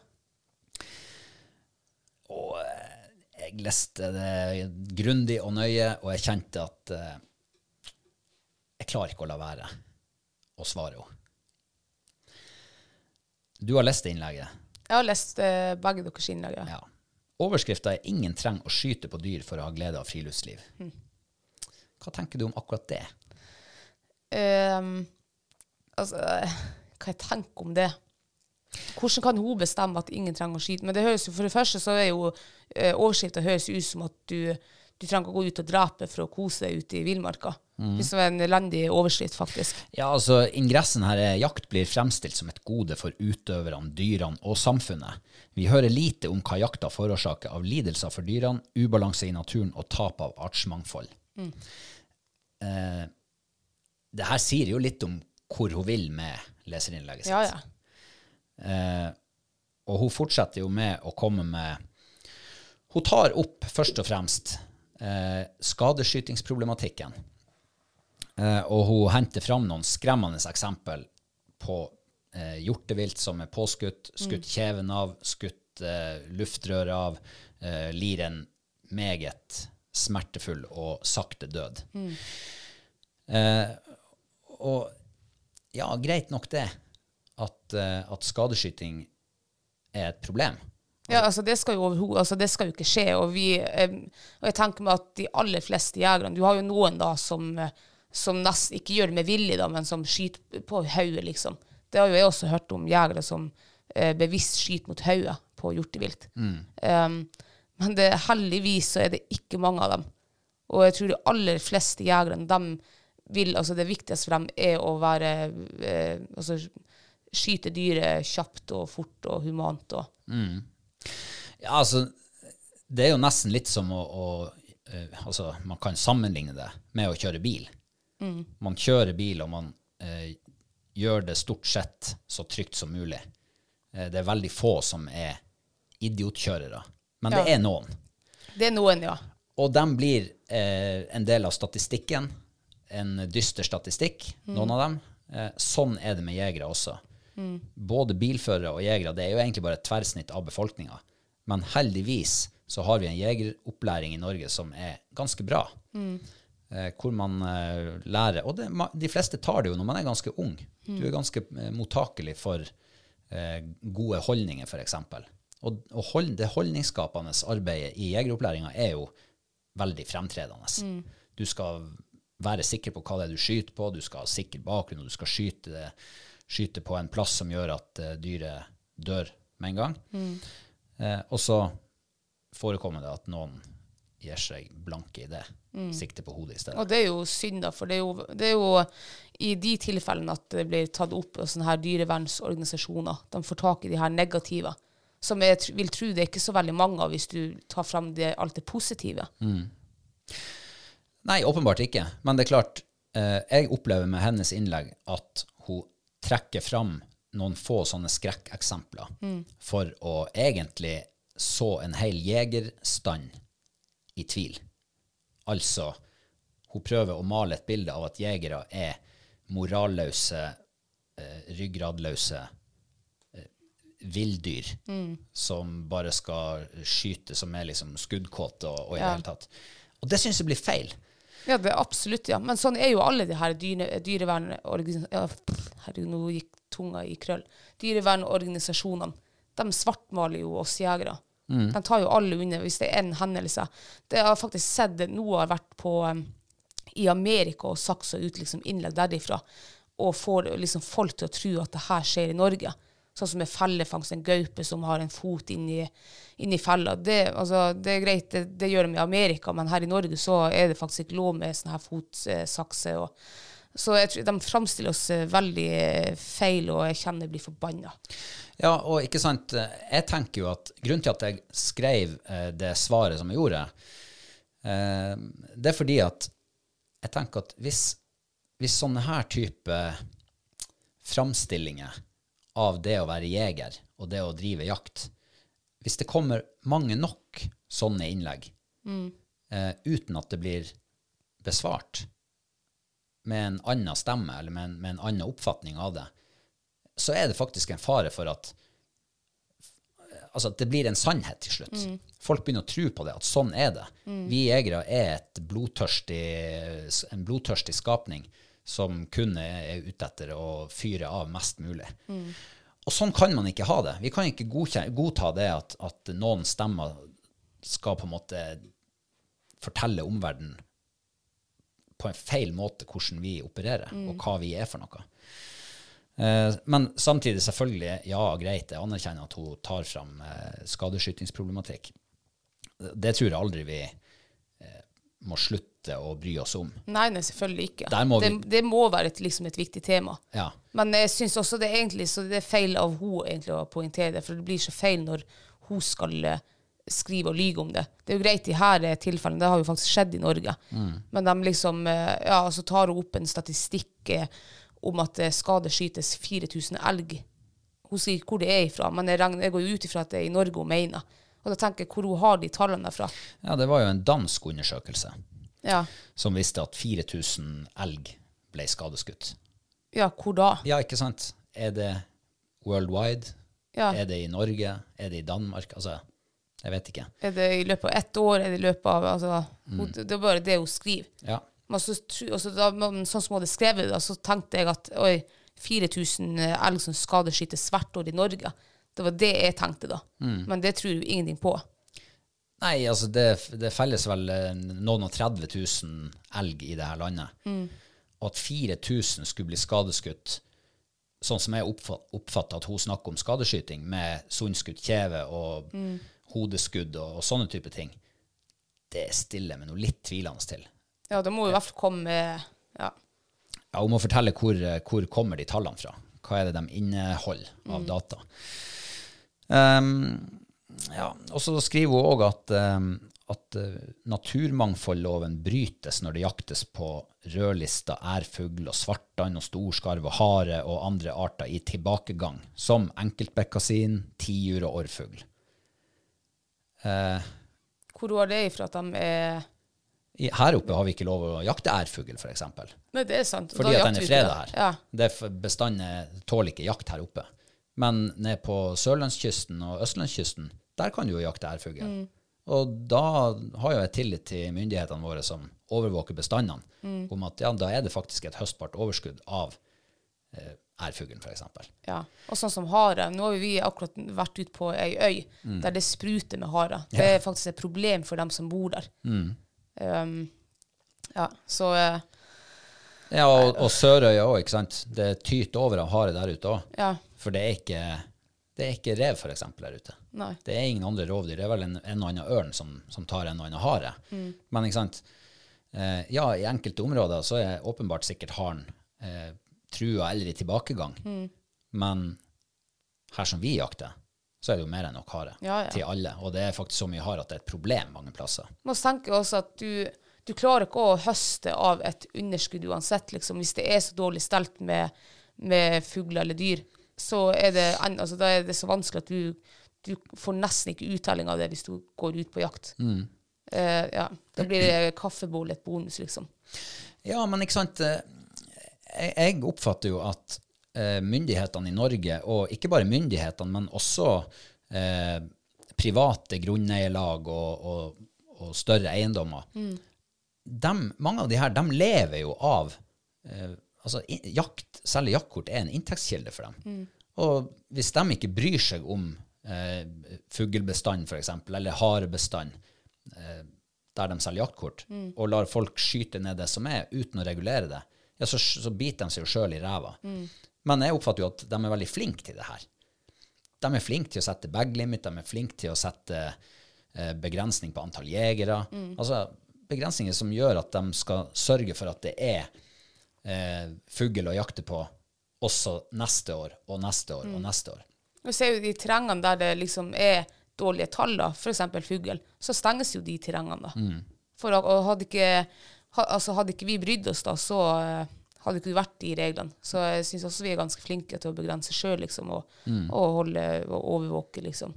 A: Jeg leste det grundig og nøye, og jeg kjente at eh, jeg klarer ikke å la være å svare henne. Du har lest det innlegget.
B: jeg har lest eh, begge deres innlegg. Ja.
A: Ja. Overskrifta er 'Ingen trenger å skyte på dyr for å ha glede av friluftsliv'. Hva tenker du om akkurat det?
B: Ehm, altså, eh, hva jeg tenker om det? Hvordan kan hun bestemme at ingen trenger å skyte? Men det høres jo, for det første så er jo eh, overskrifta høres ut som at du, du trenger å gå ut og drepe for å kose deg ute i villmarka. Det er en elendig overskrift, faktisk.
A: Ja, altså, Ingressen her er 'Jakt blir fremstilt som et gode for utøverne, dyrene og samfunnet'. Vi hører lite om hva jakta forårsaker av lidelser for dyrene,
B: Mm.
A: ubalanse i naturen og tap av artsmangfold. Eh, det her sier jo litt om hvor hun vil med leserinnlegget sitt.
B: Ja, ja.
A: Eh, og hun fortsetter jo med å komme med Hun tar opp først og fremst eh, skadeskytingsproblematikken. Eh, og hun henter fram noen skremmende eksempel på eh, hjortevilt som er påskutt, skutt kjeven av, skutt eh, luftrøret av, eh, lir en meget smertefull og sakte død. Eh, og ja, greit nok det, at, eh, at skadeskyting er et problem.
B: Ja, altså det skal jo overho- altså det skal jo ikke skje. Og, vi, eh, og jeg tenker meg at de aller fleste jegerne Du har jo noen da som, eh, som nesten ikke gjør det med vilje, da, men som skyter på hodet, liksom. Det har jo jeg også hørt om jegere som eh, bevisst skyter mot hodet på hjortevilt. Um, men det, heldigvis så er det ikke mange av dem. Og jeg tror de aller fleste jegerne, dem vil, altså det viktigste for dem er å være eh, Altså skyte dyret kjapt og fort og humant. og
A: Ja, altså, det er jo nesten litt som å, å eh, Altså, man kan sammenligne det med å kjøre bil. Man kjører bil, og man eh, gjør det stort sett så trygt som mulig. Eh, det er veldig få som er idiotkjørere, men
B: Ja.
A: det er noen.
B: Det er noen, ja.
A: Og de blir eh, en del av statistikken. En dyster statistikk, noen av dem. Eh, sånn er det med jegere også. Både bilførere og jegere, det er jo egentlig bare et tverrsnitt av befolkninga. Men heldigvis så har vi en jegeropplæring i Norge som er ganske bra. Eh, hvor man eh, lærer Og det, ma- de fleste tar det jo når man er ganske ung. Du er ganske eh, mottakelig for eh, gode holdninger, f.eks. Og, og hold, det holdningsskapende arbeidet i jegeropplæringa er jo veldig fremtredende. Du skal være sikker på hva det er du skyter på, du skal ha sikker bakgrunn, og du skal skyte, det, skyte på en plass som gjør at eh, dyret dør med en gang. Eh, og så forekommer det at noen gir seg blanke i det, sikter på hodet i stedet.
B: Og det er jo synd, da, for det er jo, det er jo i de tilfellene at det blir tatt opp av sånne her dyrevernsorganisasjoner. De får tak i de her negative, som jeg tr- vil tro det er ikke så veldig mange av hvis du tar frem det, alt det positive.
A: Nei, åpenbart ikke. Men det er klart, eh, jeg opplever med hennes innlegg at hun trekker fram noen få sånne skrekkeksempler for å egentlig så en hel jegerstand i tvil. Altså, hun prøver å male et bilde av at jegere er moralløse, eh, ryggradløse eh, villdyr som bare skal skyte, som er liksom skuddkåte og, og i det hele tatt. Og det syns jeg blir feil.
B: Ja, det er absolutt, ja. Men sånn er jo alle de her dyre, dyrevernorganisasjonene ja, pff, Herregud, nå gikk tunga i krøll. Dyrevernorganisasjonene. De svartmaler jo oss jegere. De tar jo alle under hvis det er en hendelse. Det har jeg faktisk sett Noe har vært på em, i Amerika og saksa ut liksom innlegg derifra, og får liksom folk til å tro at det her skjer i Norge. Sånn som med fellefangst, en gaupe som har en fot inni, inni fella. Det, altså, det er greit, det, det gjør de i Amerika, men her i Norge så er det faktisk ikke lov med sånne her fotsakse. Og, så jeg tror de framstiller oss eh, veldig eh, feil, og jeg kjenner jeg blir forbanna.
A: Ja, og ikke sant, eh, jeg tenker jo at grunnen til at jeg skrev eh, det svaret som jeg gjorde, eh, det er fordi at jeg tenker at hvis, hvis sånne her type framstillinger av det å være jeger og det å drive jakt, hvis det kommer mange nok sånne innlegg, eh, uten at det blir besvart med en annen stemme eller med en, med en annen oppfatning av det, så er det faktisk en fare for at altså at det blir en sannhet til slutt. Folk begynner å tro på det, at sånn er det. Vi jegere er et blodtørstig, en blodtørstig skapning som kun er er ute etter å fyre av mest mulig. Og sånn kan man ikke ha det. Vi kan ikke godkjen- godta det at, at noen stemmer skal på en måte fortelle omverdenen på en feil måte hvordan vi opererer, og hva vi er for noe. Eh, Men samtidig, selvfølgelig, ja, greit, jeg anerkjenner at hun tar fram eh, skadeskytingsproblematikk. Det tror jeg aldri vi eh, må slutte å bry oss om.
B: Nei, nei, selvfølgelig ikke.
A: Der må
B: det,
A: vi-
B: det må være et, liksom et viktig tema.
A: Ja.
B: Men jeg syns også det er egentlig så det er feil av hun egentlig å poengtere det, for det blir så feil når hun skal eh, skrive og lyge om det. Det er jo greit i disse tilfellene, det har jo faktisk skjedd i Norge. Men de liksom, eh, ja, så tar hun opp en statistikk eh, om at eh, skadeskytes 4000 elg. Hun sier ikke hvor det er ifra, men jeg, regner, jeg går jo ut ifra at det er i Norge hun mener. Og da tenker jeg hvor hun har de tallene fra.
A: Ja, det var jo en dansk undersøkelse
B: Ja,
A: som viste at 4000 elg ble skadeskutt.
B: ja hvor da?
A: Ja, ikke sant? Er det worldwide?
B: Ja.
A: Er det i Norge? Er det i Danmark? Altså, jeg vet ikke.
B: Er det i løpet av ett år? Er det i løpet av altså, hun, Det er bare det hun skriver.
A: Ja.
B: Men så, tru- altså, da, men sånn som hun hadde skrevet det, da, så tenkte jeg at oi, eh, 4000 elg som skadeskytes hvert år i Norge. Det var det jeg tenkte da.
A: Mm.
B: Men det tror jeg jo ingenting på.
A: Nei, altså det, det felles vel eh, noen og 30 000 elg i det her landet. Og at 4000 skulle bli skadeskutt, sånn som jeg oppfatter at hun snakker om skadeskyting, med sunnskutt kjeve og hodeskudd og, og sånne type ting, det stiller jeg meg noe litt tvilende til.
B: Ja, det må jo i hvert fall komme eh, ja.
A: Ja, Hun må fortelle hvor, eh, hvor kommer de tallene fra. Hva er det de inneholder av data? Ehm, ja, og så skriver hun òg at, ehm, at eh, naturmangfoldloven brytes når det jaktes på rødlista, ærfugl og svartann og storskarv og hare og andre arter i tilbakegang, som enkeltbekkasin, tiur og orrfugl.
B: Hvor hun har det ifra at de er
A: I- Her oppe har vi ikke lov å jakte ærfugl, f.eks.
B: Nei, det er sant.
A: Fordi
B: Da
A: at den er
B: jakter vi ikke
A: freda her.
B: det. Ja.
A: Det er for- Bestanden tåler ikke jakt her oppe. Men ned på sørlandskysten og østlandskysten, der kan du jo jakte ærfugl. Og da har jo jeg tillit til myndighetene våre som overvåker bestandene, om at ja, da er det faktisk et høstbart overskudd av eh, ærfuglen, f.eks.
B: Ja. Og sånn som hare. Nå har jo vi akkurat vært ute på ei øy
A: Mm.
B: der det spruter med hare. Det er faktisk et problem for dem som bor der.
A: Mm.
B: Um, ja, så eh,
A: Ja, og, og Sørøya òg, ikke sant. Det tyter over av hare der ute òg.
B: Ja.
A: For det er ikke, det er ikke rev, f.eks., der ute.
B: Nei.
A: Det er ingen andre rovdyr. Det er vel en, en og annen ørn som, som tar en og annen hare.
B: Mm.
A: Men ikke sant? Eh, ja, i enkelte områder så er åpenbart sikkert haren eh, trua eller i tilbakegang.
B: Mm.
A: Men her som vi jakter, så er det jo mer enn nok hare
B: Ja, ja.
A: til alle. Og det er faktisk så mye hare at det er et problem mange plasser.
B: Nå tenker jeg også at du, du klarer ikke å høste av et underskudd uansett, liksom. Hvis det er så dårlig stelt med, med fugler eller dyr, så er det, en- altså, da er det så vanskelig at du, du får nesten ikke uttelling av det hvis du går ut på jakt. Eh, ja. Da blir det kaffebolle et bonus, liksom.
A: Ja, men ikke sant eh, Jeg, jeg oppfatter jo at eh, myndighetene i Norge, og ikke bare myndighetene, men også eh, private grunneierlag og, og, og større eiendommer dem- Mange av de her, de lever jo av eh, altså i- jakt, Selge jaktkort er en inntektskilde for dem. Og hvis de ikke bryr seg om eh, fuglebestanden, f.eks., eller harebestand, der de selger jaktkort, og lar folk skyte ned det som er, uten å regulere det, ja, så, så biter de seg jo sjøl i ræva. Men jeg oppfatter jo at de er veldig flinke til det her. De er flinke til å sette bag limit, de er flinke til å sette eh, begrensning på antall jegere. Altså begrensninger som gjør at de skal sørge for at det er eh, fugl å jakte på også neste år og neste år og neste år.
B: Vi ser jo de terrengene der det liksom er dårlige tall, da, f.eks. fugl, så stenges jo de terrengene. da. For, å- og hadde ikke, ha, altså hadde ikke vi brydd oss da, så eh, hadde ikke det vært de reglene. Så jeg syns også vi er ganske flinke til å begrense sjøl, liksom, og, og holde og overvåke, liksom.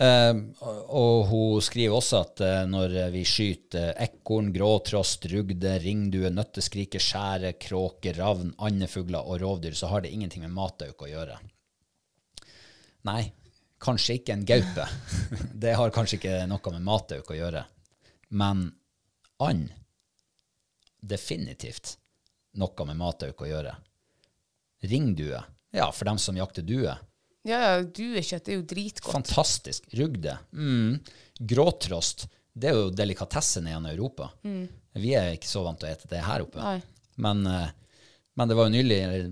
A: Eh, og- og hun skriver også at eh, når vi skyter ekorn, gråtrost, rugde, ringdue, nøtteskrike, skjære, kråke, ravn, andefugler og rovdyr, så har det ingenting med matauk å gjøre. Nei, kanskje ikke en gaupe. det har kanskje ikke noe med matauk å gjøre. Men and definitivt noe med matauk å gjøre. Ringdue, ja, for dem som jakter due.
B: Ja, ja, duekjøtt er jo dritgodt.
A: Fantastisk. Rugde. Mm. Gråtrost. Det er jo delikatessen i en Europa. Vi er ikke så vant til å ete det her oppe.
B: Nei.
A: Men, eh, men det var jo nylig, eller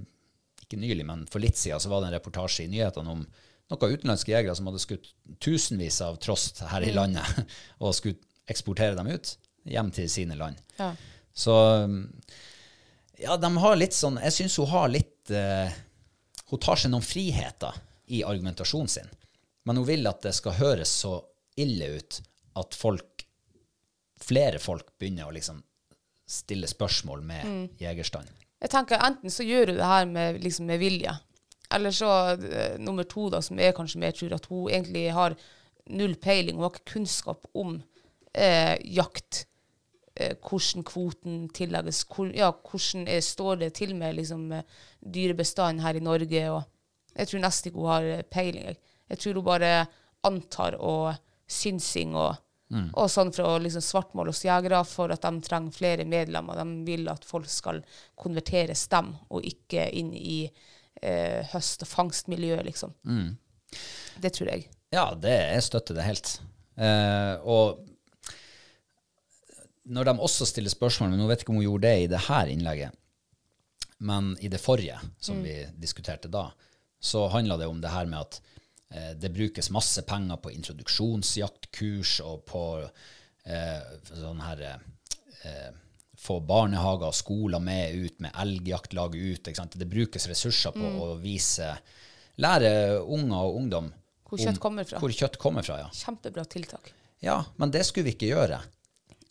A: ikke nylig, men for litt siden så var det en reportasje i nyhetene om noen utenlandske jegere som hadde skutt tusenvis av trost her i landet, og skulle eksportere dem ut hjem til sine land.
B: Ja.
A: Så mm, ja, de har litt sånn Jeg syns hun har litt eh, Hun tar seg noen friheter i argumentasjonen sin. Men hun vil at det skal høres så ille ut at folk, flere folk begynner å liksom stille spørsmål med jegerstanden.
B: Jeg tenker Enten så gjør hun det her med, liksom, med vilje, eller så eh, nummer to, da, som jeg kanskje mer tror, at hun egentlig har null peiling, hun har ikke kunnskap om eh, jakt. Eh, hvordan kvoten tillegges, hvor, ja, hvordan eh, står det til med liksom, eh, dyrebestanden her i Norge. Og jeg tror nesten ikke hun har eh, peiling. Jeg. jeg tror hun bare antar og synsing og,
A: Mm.
B: og sånn fra å liksom, svartmåle oss jegere for at de trenger flere medlemmer. De vil at folk skal konverteres dem, og ikke inn i eh, høst- og fangstmiljøet, liksom.
A: Mm.
B: Det tror jeg.
A: Ja, det, jeg støtter det helt. Eh, og når de også stiller spørsmål, men nå vet jeg ikke om hun gjorde det i det her innlegget, men i det forrige, som vi diskuterte da, så handla det om det her med at eh, det brukes masse penger på introduksjonsjaktkurs og på eh, sånn her eh, få barnehager og skoler med ut, med elgjaktlag ut. Ikke sant? Det brukes ressurser på å vise, lære unger og ungdom
B: Hvor
A: om-
B: kjøtt kommer fra.
A: Hvor kjøtt kommer fra, ja.
B: Kjempebra tiltak.
A: Ja, men det skulle vi ikke gjøre.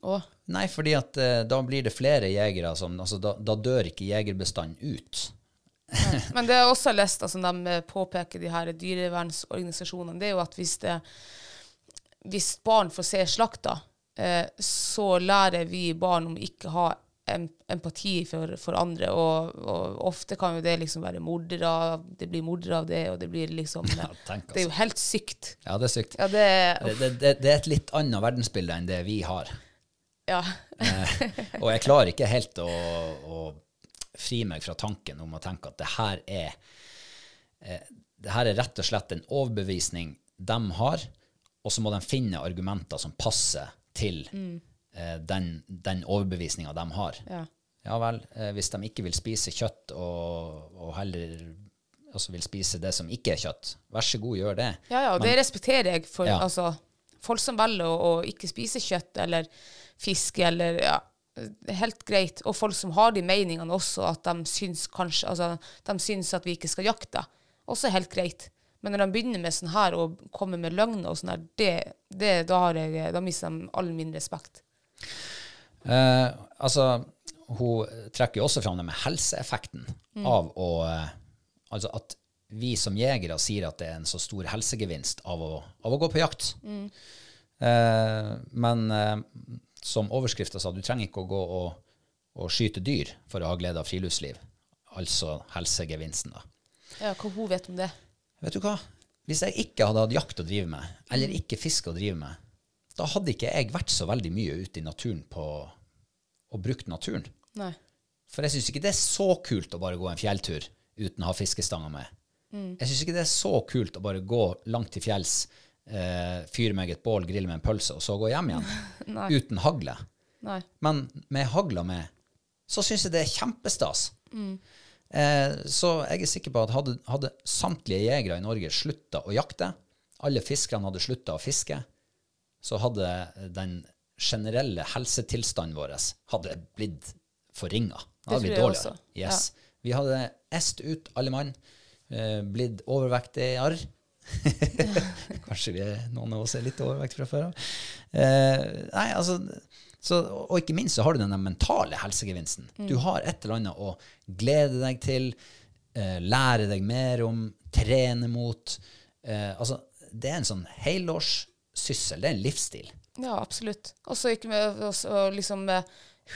B: Og
A: Nei, fordi at eh, da blir det flere jegere som altså, da, da dør ikke jegerbestanden ut.
B: Men det jeg også har lest, altså, de eh, påpeker de her dyrevernsorganisasjonene, det er jo at hvis, det, hvis barn får se slakta, eh, så lærer vi barn om ikke å ha em- empati for, for andre, og, og ofte kan jo det liksom være mordere, det blir mordere av det, og det blir liksom eh,
A: tenk, altså.
B: Det er jo helt sykt.
A: Ja, det er sykt.
B: Ja, det
A: Det, det, det, det er et litt annet verdensbilde enn det vi har.
B: Ja.
A: Og jeg klarer ikke helt å, å fri meg fra tanken om å tenke at det her er eh, det her er rett og slett en overbevisning de har, og så må de finne argumenter som passer til eh, den, den overbevisninga de har.
B: ja.
A: Ja vel, eh, hvis de ikke vil spise kjøtt, og, og heller altså vil spise det som ikke er kjøtt, vær så god, gjør det.
B: Ja, ja, og det respekterer jeg. For
A: Ja.
B: altså, folk som velger å, å ikke spise kjøtt eller fisk eller ja, det er Helt greit. Og folk som har de meningene også, at de syns, kanskje, altså, de syns at vi ikke skal jakte. Også helt greit. Men når de begynner med sånn her og kommer med løgner og sånn her, det, det, da, har jeg, da mister de all min respekt.
A: Eh, altså, hun trekker jo også fram det med helseeffekten av å eh, Altså at vi som jegere sier at det er en så stor helsegevinst av å, av å gå på jakt. Eh, men eh, som overskrifta sa, du trenger ikke å gå og, og skyte dyr for å ha glede av friluftsliv. Altså helsegevinsten, da.
B: Ja, hva hun vet om det?
A: Vet du hva? Hvis jeg ikke hadde hatt jakt å drive med, eller ikke fisk å drive med, da hadde ikke jeg vært så veldig mye ute i naturen på, og brukt naturen.
B: Nei.
A: For jeg syns ikke det er så kult å bare gå en fjelltur uten å ha fiskestanga med. Jeg syns ikke det er så kult å bare gå langt til fjells, eh, fyre meg et bål, grille med en pølse, og så gå hjem igjen. uten hagle.
B: Nei.
A: Men med hagla med, så syns jeg det er kjempestas.
B: Mm.
A: Eh, så jeg er sikker på at hadde, hadde samtlige jegere i Norge slutta å jakte, alle fiskerne hadde slutta å fiske, så hadde den generelle helsetilstanden vår hadde blitt forringa. Det hadde
B: Det
A: blitt
B: tror jeg
A: dårligere.
B: også.
A: Yes. Vi hadde est ut alle mann, eh, blitt overvektigere. Kanskje vi er, noen av oss er litt overvektige fra før av. Eh, nei, altså, så, og ikke minst så har du den der mentale helsegevinsten.
B: Mm.
A: Du har et eller annet å glede deg til, eh, lære deg mer om, trene mot. Eh, altså, det er en sånn helårssyssel. Det er en livsstil.
B: Ja, absolutt. Og så ikke med oss, og liksom eh,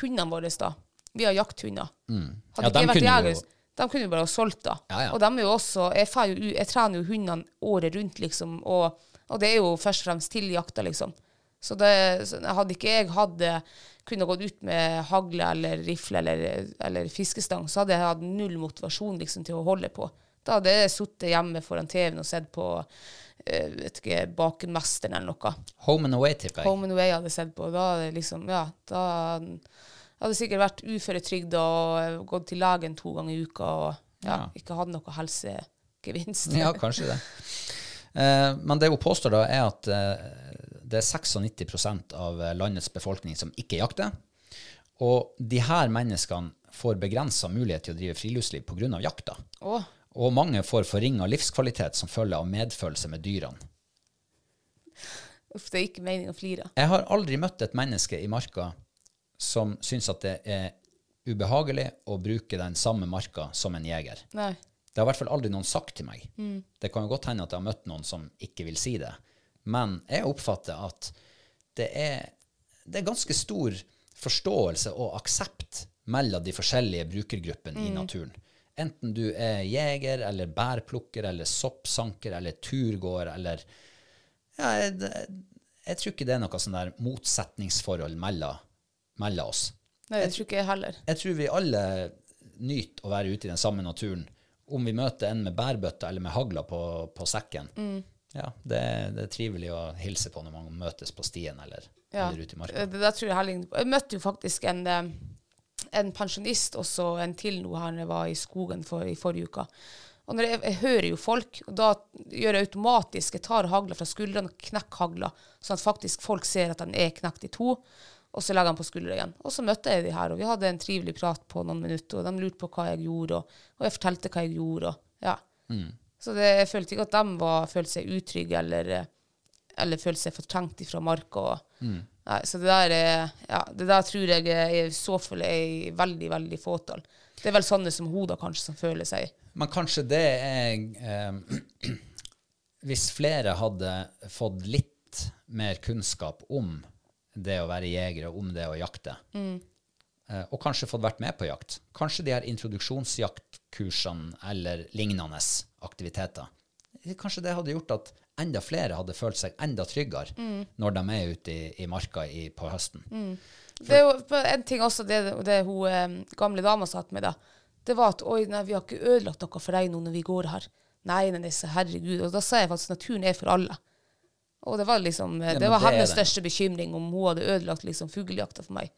B: hundene våre, da. Vi har jakthunder. Hadde
A: Ja, dem
B: ikke jeg
A: kunne
B: vært
A: vi
B: jeger,
A: jo-
B: de kunne jo bare ha solgt, da.
A: Ja, ja.
B: Og dem er jo også Jeg, fer jo, u- jeg trener jo hundene året rundt, liksom, og, og det er jo først og fremst til jakta, liksom. Så det, så hadde ikke jeg hatt eh, kunne gått ut med hagle eller rifle eller, eller fiskestang, så hadde jeg hatt null motivasjon liksom, til å holde på. Da hadde jeg sittet hjemme foran TV-en og sett på eh, vet ikke, Bakermesteren eller noe.
A: Home and away, tipper jeg.
B: Home and Away hadde jeg sett på. Da hadde jeg liksom, ja, da hadde jeg sikkert vært uføretrygda og gått til legen to ganger i uka og ja,
A: Ja.
B: ikke hatt noe helsegevinst.
A: Ja, kanskje det. Eh, men det hun påstår, da, er at eh, det er 96 av eh, landets befolkning som ikke jakter. Og de her menneskene får begrensa mulighet til å drive friluftsliv pga. jakta.
B: Å,
A: Og mange får forringa livskvalitet som følge av medfølelse med dyrene.
B: Uff, det er ikke meningen å flire.
A: Jeg har aldri møtt et menneske i marka som syns at det er ubehagelig å bruke den samme marka som en jeger.
B: Nei.
A: Det har i hvert fall aldri noen sagt til meg. Det kan jo godt hende at jeg har møtt noen som ikke vil si det. Men jeg oppfatter at det er, det er ganske stor forståelse og aksept mellom de forskjellige brukergruppene i naturen. Enten du er jeger eller bærplukker eller soppsanker eller turgåer eller ja, jeg, det- jeg tror ikke det er noe sånn der motsetningsforhold mellom, mellom oss.
B: Nei, det tror ikke jeg heller.
A: Jeg tror vi alle nyter å være ute i den samme naturen. Om vi møter en med bærbøtta eller med hagla på, på sekken.
B: Mm.
A: Ja, det, er- det er trivelig å hilse på når man møtes på stien eller,
B: Ja. Eh,
A: eller ute i marka.
B: Det, det tror jeg heller ikke på. Jeg møtte jo faktisk en, eh, en pensjonist og så en til nå han var i skogen for, i forrige uke. Og når jeg, jeg hører jo folk, og da gjør jeg automatisk Jeg tar hagla fra skuldrene og knekker hagla, sånn at faktisk folk ser at den er knekt i to. Og så legger han på skuldra igjen. Og så møtte jeg de her, og vi hadde en trivelig prat på noen minutter. Og de lurte på hva jeg gjorde, og, og jeg fortalte hva jeg gjorde. Og, ja.
A: Mm.
B: Så det, jeg følte ikke at de var, følte seg utrygge eller, eh, eller følte seg fortrengt fra marka. og-
A: Mm.
B: Nei, så det der, er- ja, det der tror jeg er i så fall er i veldig, veldig fåtall. Det er vel sånne som hoda kanskje som føler seg
A: Men kanskje det er eh, Hvis flere hadde fått litt mer kunnskap om det å være jeger og om det å jakte, eh, og kanskje fått vært med på jakt Kanskje de her introduksjonsjaktkursene eller lignende aktiviteter Kanskje det hadde gjort at enda flere hadde følt seg enda tryggere når de er ute i, i marka i, på høsten.
B: Det er jo på en ting også, det, det hun eh, gamle dama satt med da, det var at oi, nei, vi har ikke ødelagt noe for deg nå når vi går her. Nei, nei, nei, så herregud. Og da sa jeg faktisk naturen er for alle. Og det var liksom, eh,
A: Ja,
B: det
A: men det
B: var
A: er
B: hennes
A: den.
B: største bekymring om hun hadde ødelagt liksom fuglejakta for meg.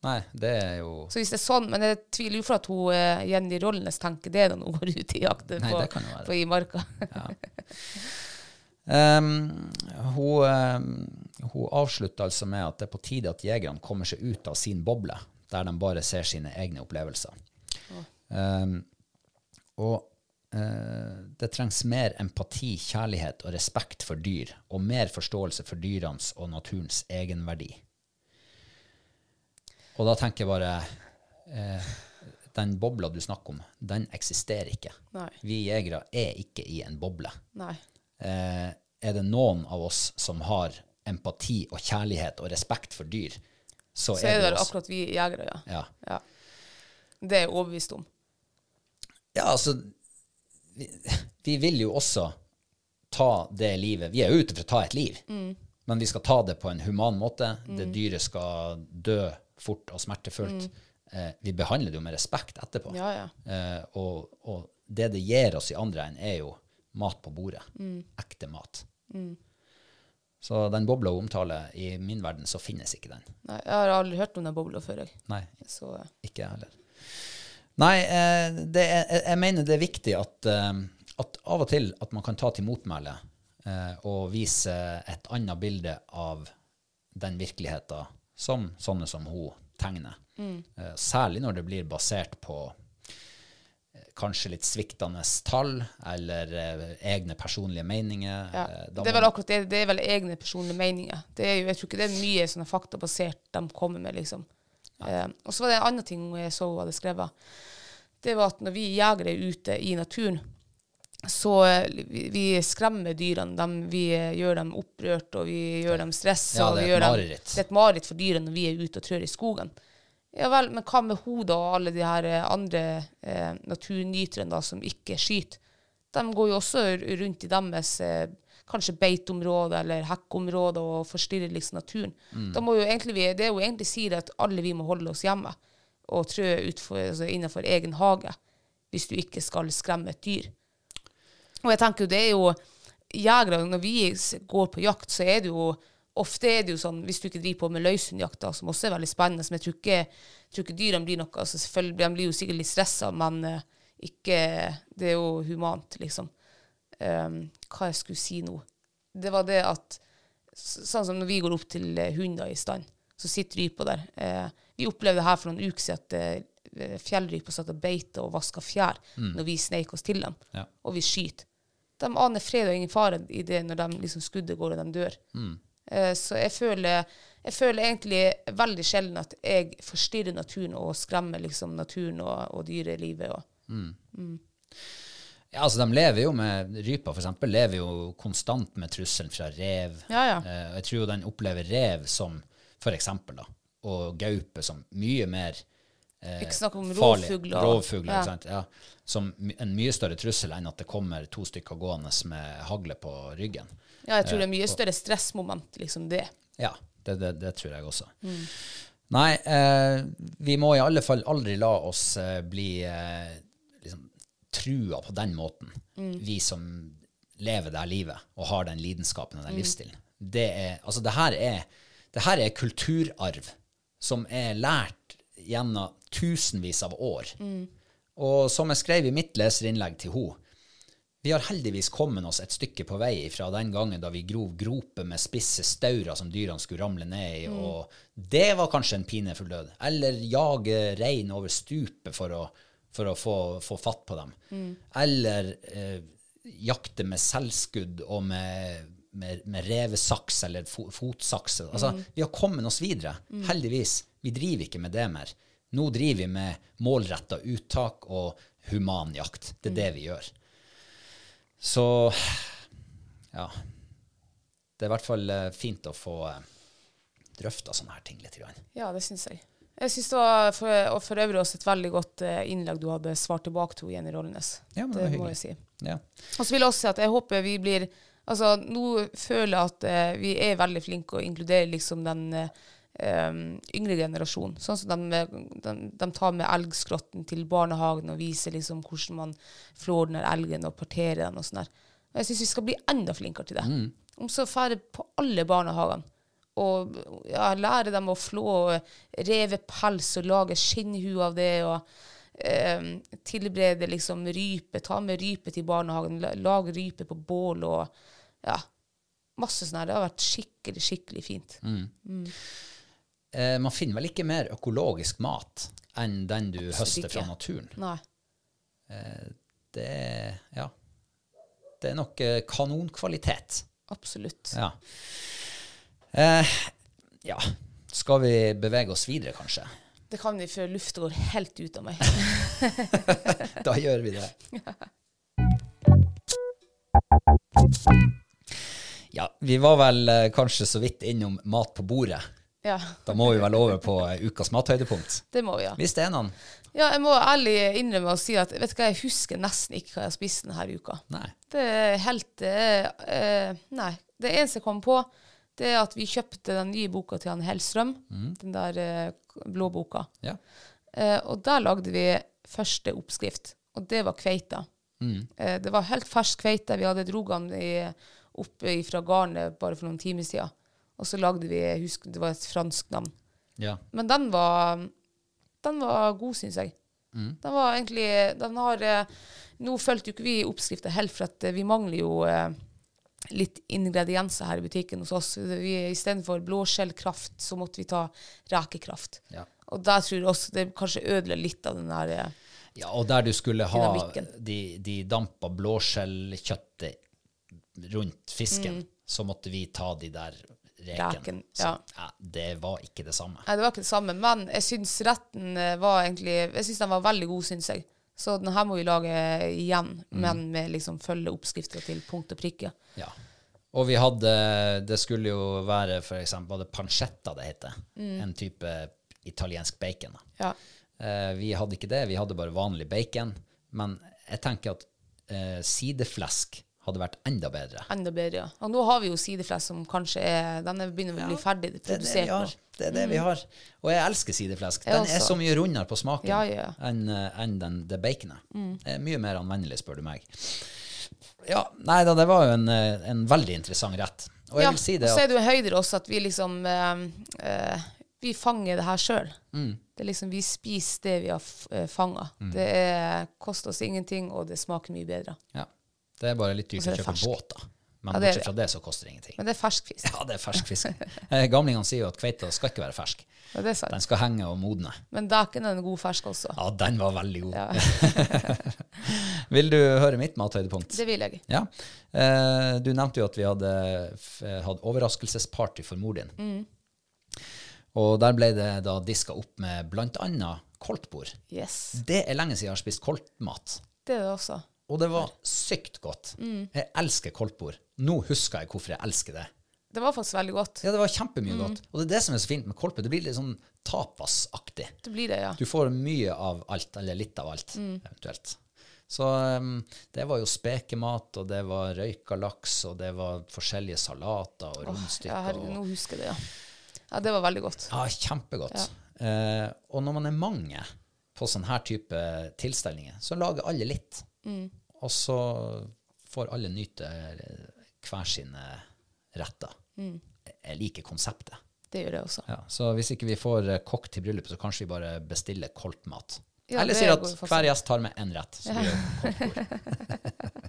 A: Nei, det er jo
B: Så hvis det er sånn, men jeg tviler jo for at hun eh, Jenny Rollnes tenker det når hun går ut i jakt
A: Nei,
B: på,
A: det kan jo være.
B: på i marka.
A: Um, hun, um, hun avslutter altså med at det er på tide at jegerne kommer seg ut av sin boble, der de bare ser sine egne opplevelser. Um, og eh, det trengs mer empati, kjærlighet og respekt for dyr, og mer forståelse for dyrenes og naturens egenverdi. Og da tenker jeg bare eh, Den bobla du snakker om, den eksisterer ikke.
B: Nei.
A: Vi jegere er ikke i en boble
B: Nei.
A: eh, er det noen av oss som har empati og kjærlighet og respekt for dyr, så,
B: Så er det vel akkurat vi jegere, ja.
A: Ja.
B: ja. Det er jeg overbevist om.
A: ja, altså vi, vi vil jo også ta det livet Vi er jo ute for å ta et liv,
B: Mm.
A: men vi skal ta det på en human måte. Det dyret skal dø fort og smertefullt. Eh, vi behandler det jo med respekt etterpå.
B: Mm. Ja, ja.
A: Eh, og, og det det gir oss i andre enden, er jo mat på bordet. Ekte mat. Så den bobla hun omtaler, i min verden så finnes ikke den.
B: Nei, jeg har aldri hørt om den bobla før, jeg.
A: Nei,
B: Så eh,
A: ikke jeg heller. Nei, eh, det er, jeg- jeg mener det er viktig at, eh, at av og til at man kan ta til motmæle eh, og vise et annet bilde av den virkeligheten som sånne som hun tegner.
B: Mm.
A: Eh, Særlig når det blir basert på eh, kanskje litt sviktende tall eller eh, egne personlige meninger.
B: ja.
A: Eh, da
B: Det er
A: må-
B: vel akkurat det. Det er vel egne personlige meninger. Det er jo, jeg tror ikke det er mye sånne faktabasert de kommer med, liksom. Eh, og så var det en annen ting jeg så hun hadde skrevet. Det var at når vi jegere er ute i naturen, så eh, vi, vi skremmer dyrene. Dem- vi eh, gjør dem opprørt, og vi gjør dem stressa.
A: Ja,
B: og
A: det er et
B: vi gjør dem-
A: mareritt.
B: Det er et mareritt for dyrene når vi er ute og trør i skogen. Ja vel, men hva med hodet og alle de her eh, andre eh, naturnyterne da, som ikke skyter? De går jo også r- rundt i deres eh, kanskje beiteområde eller hekkeområde og forstyrrer liksom naturen.
A: Mm.
B: Da må jo egentlig vi, det er jo egentlig sier at alle vi må holde oss hjemme og trø utfor, altså innenfor egen hage hvis du ikke skal skremme et dyr. Og jeg tenker jo det er jo jegere, når vi s- går på jakt, så er det jo ofte er det jo sånn, hvis du ikke driver på med løshundjakt, da, som også er veldig spennende, som jeg tror ikke, tror ikke dyrene blir noe, altså selvfølgelig, de blir jo sikkert litt stresset, men eh, ikke, det er jo humant, liksom. Ehm, hva jeg skulle si nå? Det var det at, s- sånn som når vi går opp til eh, hunder i stand, så sitter rypa der. Eh, vi opplevde her for noen uker siden at eh, fjellrypa satt og beite og vasket fjær når vi sneik oss til dem,
A: Mm. Ja.
B: og vi skyter. De aner fred og ingen fare i det når de liksom skuddet går og de dør.
A: Mm.
B: Eh, Så jeg føler, jeg føler egentlig veldig sjelden at jeg forstyrrer naturen og skremmer liksom naturen og, og dyrelivet. Og.
A: Ja, altså De lever jo med rypa, for eksempel, lever jo konstant med trusselen fra rev.
B: Ja, ja.
A: Eh, og jeg tror jo den opplever rev som for eksempel, da, og gaupe som mye mer eh,
B: Ikke snakk om
A: farlig.
B: rovfugler.
A: Rovfugler,
B: Ja.
A: ikke sant? Ja. Som my- en mye større trussel enn at det kommer to stykker gående med hagle på ryggen.
B: Ja, jeg
A: Eh,
B: tror det er mye større stressmoment, liksom det.
A: Ja, det, det, det tror jeg også. Nei, eh, vi må i alle fall aldri la oss eh, bli eh, liksom, trua på den måten, vi som lever det her livet og har den lidenskapen og den livsstilen. Det, er, altså, det, her er, det her er kulturarv som er lært gjennom tusenvis av år. Og som jeg skrev i mitt leserinnlegg til henne, vi har heldigvis kommet oss et stykke på vei fra den gangen da vi grov groper med spisse staurer som dyrene skulle ramle ned i, og det var kanskje en pinefull død. Eller jage rein over stupet for å, for å få, få fatt på dem. Eller eh, jakte med selvskudd og med, med, med revesaks eller fo, fotsakse. Altså, Vi har kommet oss videre, heldigvis. Vi driver ikke med det mer. Nå driver vi med målretta uttak og human jakt. Det er det vi gjør. Så ja. Det er i hvert fall eh, fint å få eh, drøfta sånne her ting litt. Grann.
B: Ja, det syns jeg. Jeg synes det var for, og for øvrig også et veldig godt eh, innlegg du hadde svart tilbake til Jenny Rollnes.
A: Ja, men det
B: det
A: var
B: må
A: hyggelig.
B: jeg si.
A: Ja.
B: Og så vil jeg også si at jeg håper vi blir Altså, nå føler jeg at eh, vi er veldig flinke å inkludere liksom den eh, em, yngre generasjonen. Sånn som de, de, de tar med elgskrotten til barnehagen og viser liksom hvordan man flår den her elgen og parterer den og sånn der. Og Jeg syns vi skal bli enda flinkere til det.
A: Mm.
B: Om så færre på alle barnehagene. Og ja, lære dem å flå og reve pels og lage skinnhue av det. og eh, tilberede liksom rype, ta med rype til barnehagen, la- lage rype på bål og ja, masse sånn her. Det har vært skikkelig, skikkelig fint.
A: Eh, man finner vel ikke mer økologisk mat enn den du høster
B: ikke.
A: fra naturen.
B: Nei.
A: Det er, ja. det er nok eh, kanonkvalitet.
B: Absolutt.
A: Ja. Eh, ja. Skal vi bevege oss videre, kanskje?
B: Det kan vi før lufta går helt ut av meg.
A: Da gjør vi det. Ja, vi var vel eh, kanskje så vidt innom mat på bordet.
B: Ja,
A: Da må vi vel over på eh, ukas mathøydepunkt.
B: det må vi ha.
A: Hvis det er noen.
B: Ja, jeg må ærlig innrømme og si at vet du hva, jeg husker nesten ikke hva jeg har spist denne uka.
A: Nei.
B: Det er helt eh, eh, Nei. Det eneste jeg kom på, det er at vi kjøpte den nye boka til han Hellstrøm. Den der eh, blå boka.
A: Ja.
B: Eh, og der lagde vi første oppskrift, og det var kveita. Eh, det var helt fersk kveite. Vi hadde drog den i, opp fra garnet bare for noen timer siden. Og så lagde vi jeg husker, Det var et fransk navn.
A: Ja.
B: Men den var, den var god, syns jeg. Den var egentlig den har, eh, Nå fulgte jo ikke vi oppskrifta helt, for at eh, vi mangler jo eh, litt ingredienser her i butikken hos oss. Vi, istedenfor blåskjellkraft, så måtte vi ta rekekraft.
A: Ja.
B: Og der tror jeg også det kanskje ødela litt av den der eh,
A: ja, og der du skulle ha
B: Dynamikken.
A: de, de dampa blåskjellkjøttet rundt fisken, så måtte vi ta de der rekene.
B: Reken,
A: Så,
B: Mm. ja.
A: det var ikke det samme.
B: Nei, det var ikke det samme, men jeg syns retten eh, var egentlig Jeg synes den var veldig god, syns jeg. Så den her må vi lage igjen, men med liksom følge oppskrifta til punkt og prikke.
A: Ja. Og vi hadde Det skulle jo være for eksempel var det pancetta det heter.
B: Mm.
A: En type italiensk bacon. da.
B: Ja.
A: Eh, vi hadde ikke det, vi hadde bare vanlig bacon. Men jeg tenker at eh, sideflesk hadde vært enda bedre.
B: Enda bedre, ja. Og nå har vi jo sideflesk som kanskje er Den er- begynner å bli ferdig
A: det
B: produsert
A: vi
B: nå.
A: har. Det er det
B: Mm.
A: vi har. Og jeg elsker sideflesk.
B: Jeg
A: Den er
B: også.
A: så mye rundere på smaken
B: altså. Ja, ja, Mm. ja.
A: enn eh, enn den, det baconet. Eh, Mye mer anvendelig, spør du meg. Ja, nei da, det var jo en, eh, en veldig interessant rett. Og jeg
B: Ja,
A: vil si det
B: og så
A: at
B: er det jo høyder også at vi liksom eh, eh, Vi fanger det her sjøl.
A: Mm.
B: Det er liksom, vi spiser det vi har uh, fanga. Det er, koster oss ingenting, og det smaker mye bedre.
A: Ja. Det er bare litt
B: Og
A: dyrt
B: så
A: å
B: er det
A: kjøpe
B: fersk.
A: båt, da. Men
B: Ja, det er
A: bortsett
B: det.
A: fra det, så koster det ingenting.
B: Men det er fersk fisk.
A: Ja, det er fersk fisk. Eh, Gamlingene sier jo at kveita skal ikke være fersk.
B: Ja, det er sant.
A: Den skal henge og modne.
B: Men dæken er en god fersk også.
A: Ja, den var veldig god.
B: Ja.
A: Ja, Vil du høre mitt mathøydepunkt?
B: Det vil jeg.
A: Ja. Eh, du nevnte jo at vi hadde f- eh, hatt overraskelsesparty for mor din.
B: Mm.
A: Og der ble det da diska opp med bl.a. koltbord.
B: Yes.
A: Det er lenge siden jeg har spist koltmat.
B: Det er det også.
A: Og det var sykt godt.
B: Mm.
A: Jeg elsker koltbord. Nå husker jeg hvorfor jeg elsker det.
B: Det var faktisk veldig godt.
A: Ja, det var kjempemye
B: Mm.
A: godt. Og det er det som er så fint med koltbord. Det blir litt sånn tapasaktig.
B: Det blir det, ja.
A: Du får mye av alt, eller litt av alt,
B: Mm.
A: eventuelt. Så um, det var jo spekemat, og det var røyka laks, og det var forskjellige salater og
B: Ja,
A: rundstykker.
B: herregud,
A: og,
B: nå husker jeg det, ja. Ja, det var veldig godt.
A: ja, kjempegodt. Eh, og når man er mange på sånn her type tilstelninger, så lager alle litt.
B: Mm.
A: Og så får alle nyte eh, hver sine retter.
B: Mm.
A: Jeg liker konseptet.
B: Det gjør jeg også.
A: Ja, så hvis ikke vi får eh, kokk til bryllupet, så kanskje vi bare bestiller koldt mat.
B: Ja,
A: Eller
B: det
A: sier at
B: går faktisk.
A: hver gjest tar med én rett. Så blir det koldtbord.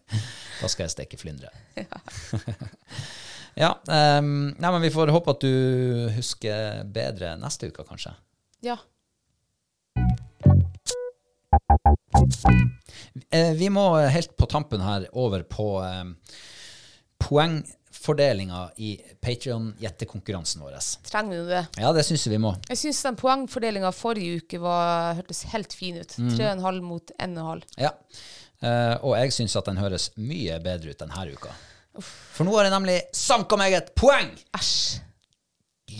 A: da skal jeg steke flyndre. Ja, ehm, nei, men vi får håpe at du husker bedre neste uke, kanskje.
B: Ja.
A: Eh, vi må eh, helt på tampen her over på eh, poengfordelinga i Patrion-gjettekonkurransen vår.
B: Trenger vi nå det?
A: Ja, det syns jeg vi må.
B: Jeg syns den poengfordelinga forrige uke var, hørtes helt fin ut.
A: Mm.
B: Tre og en halv mot en og en halv.
A: Ja. Eh, og jeg syns at den høres mye bedre ut denne uka. For nå har jeg nemlig sanka meg et poeng!
B: Æsj.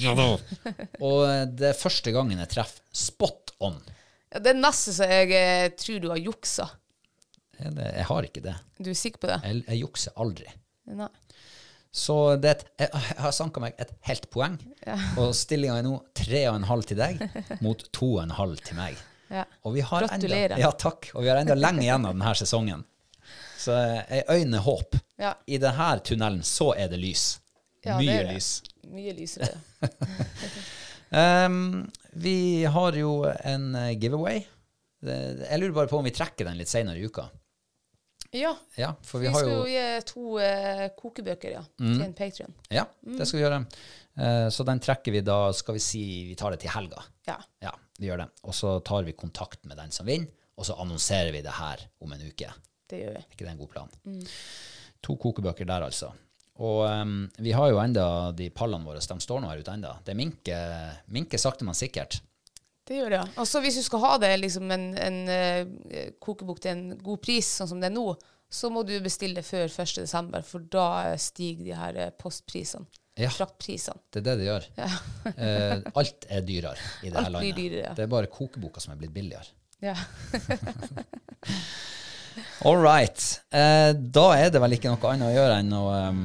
A: Og eh, det er første gangen jeg treffer spot on.
B: Ja, det er nesten så jeg eh, tror du har juksa.
A: Jeg, jeg har ikke Eh, det.
B: Du er sikker på det?
A: Jeg, jeg jukser aldri.
B: Nei.
A: Så det er et, jeg, jeg har sanka meg et helt poeng, og stillinga er nå tre og en halv til deg mot to og en halv til meg.
B: Ja.
A: Og vi har enda,
B: Gratulerer.
A: ja, takk. Og vi har enda lenge igjen av denne sesongen. Så jeg øyner håp.
B: Ja.
A: I denne tunnelen så er det lys.
B: Ja, det
A: Mye
B: er det.
A: lys.
B: Mye lysere.
A: Ehm, vi har jo en eh, giveaway. Det- Jeg lurer bare på om vi trekker den litt senere i uka.
B: Ja.
A: Ja, for
B: Vi,
A: vi har
B: skal
A: jo
B: jo
A: Mm.
B: gi to eh, kokebøker, ja. Til en Patrion.
A: Ja,
B: Mm.
A: det skal vi gjøre. Eh, Så den trekker vi da, skal vi si, vi tar det til helga.
B: Ja.
A: Ja, vi gjør det. Og så tar vi kontakt med den som vinner, og så annonserer vi det her om en uke.
B: Det gjør vi.
A: Er ikke det en god plan?
B: Mm.
A: To kokebøker der, altså. Og ehm, vi har jo enda de pallene våre, de står nå her ute enda. Det minker, minker sakte, men sikkert.
B: Det gjør det, ja. Og så hvis du skal ha det liksom en, en eh, kokebok til en god pris, sånn som det er nå, så må du bestille det før 1. desember, for da eh, stiger de her eh, postprisene.
A: Ja.
B: Fraktprisene.
A: Det er det det gjør. eh, alt er dyrere i det
B: Alt
A: her
B: blir
A: landet.
B: dyrere, ja.
A: Det er bare kokeboka som er blitt billigere.
B: Ja.
A: All right. Eh, da er det vel ikke noe annet å gjøre enn å eh,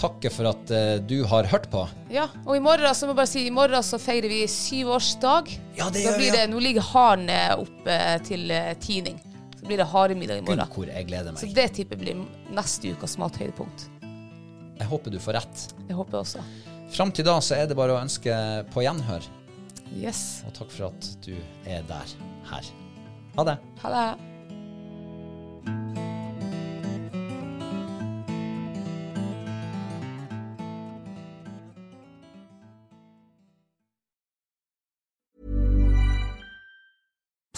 A: takke for at eh, du har hørt på.
B: ja. Og i morgen så må jeg bare si, i morgen så feirer vi syvårsdag.
A: Ja, det
B: da
A: gjør vi,
B: blir
A: ja.
B: det, Nå ligger haren eh, oppe til eh, tining. Så blir det haremiddag i
A: Gud,
B: morgen.
A: hvor jeg gleder
B: Så
A: meg.
B: det tipper jeg blir neste ukas mathøydepunkt.
A: Jeg håper du får rett.
B: Det håper jeg også.
A: Fram til da så er det bare å ønske på gjenhør,
B: Yes.
A: og takk for at du er der her. Ha det.
B: Ha det.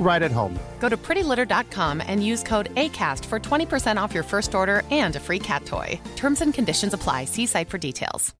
D: right at home.
E: Go to prettylitter.com and use code ACAST for 20% off your first order and a free cat toy. Terms and conditions apply. See site for details.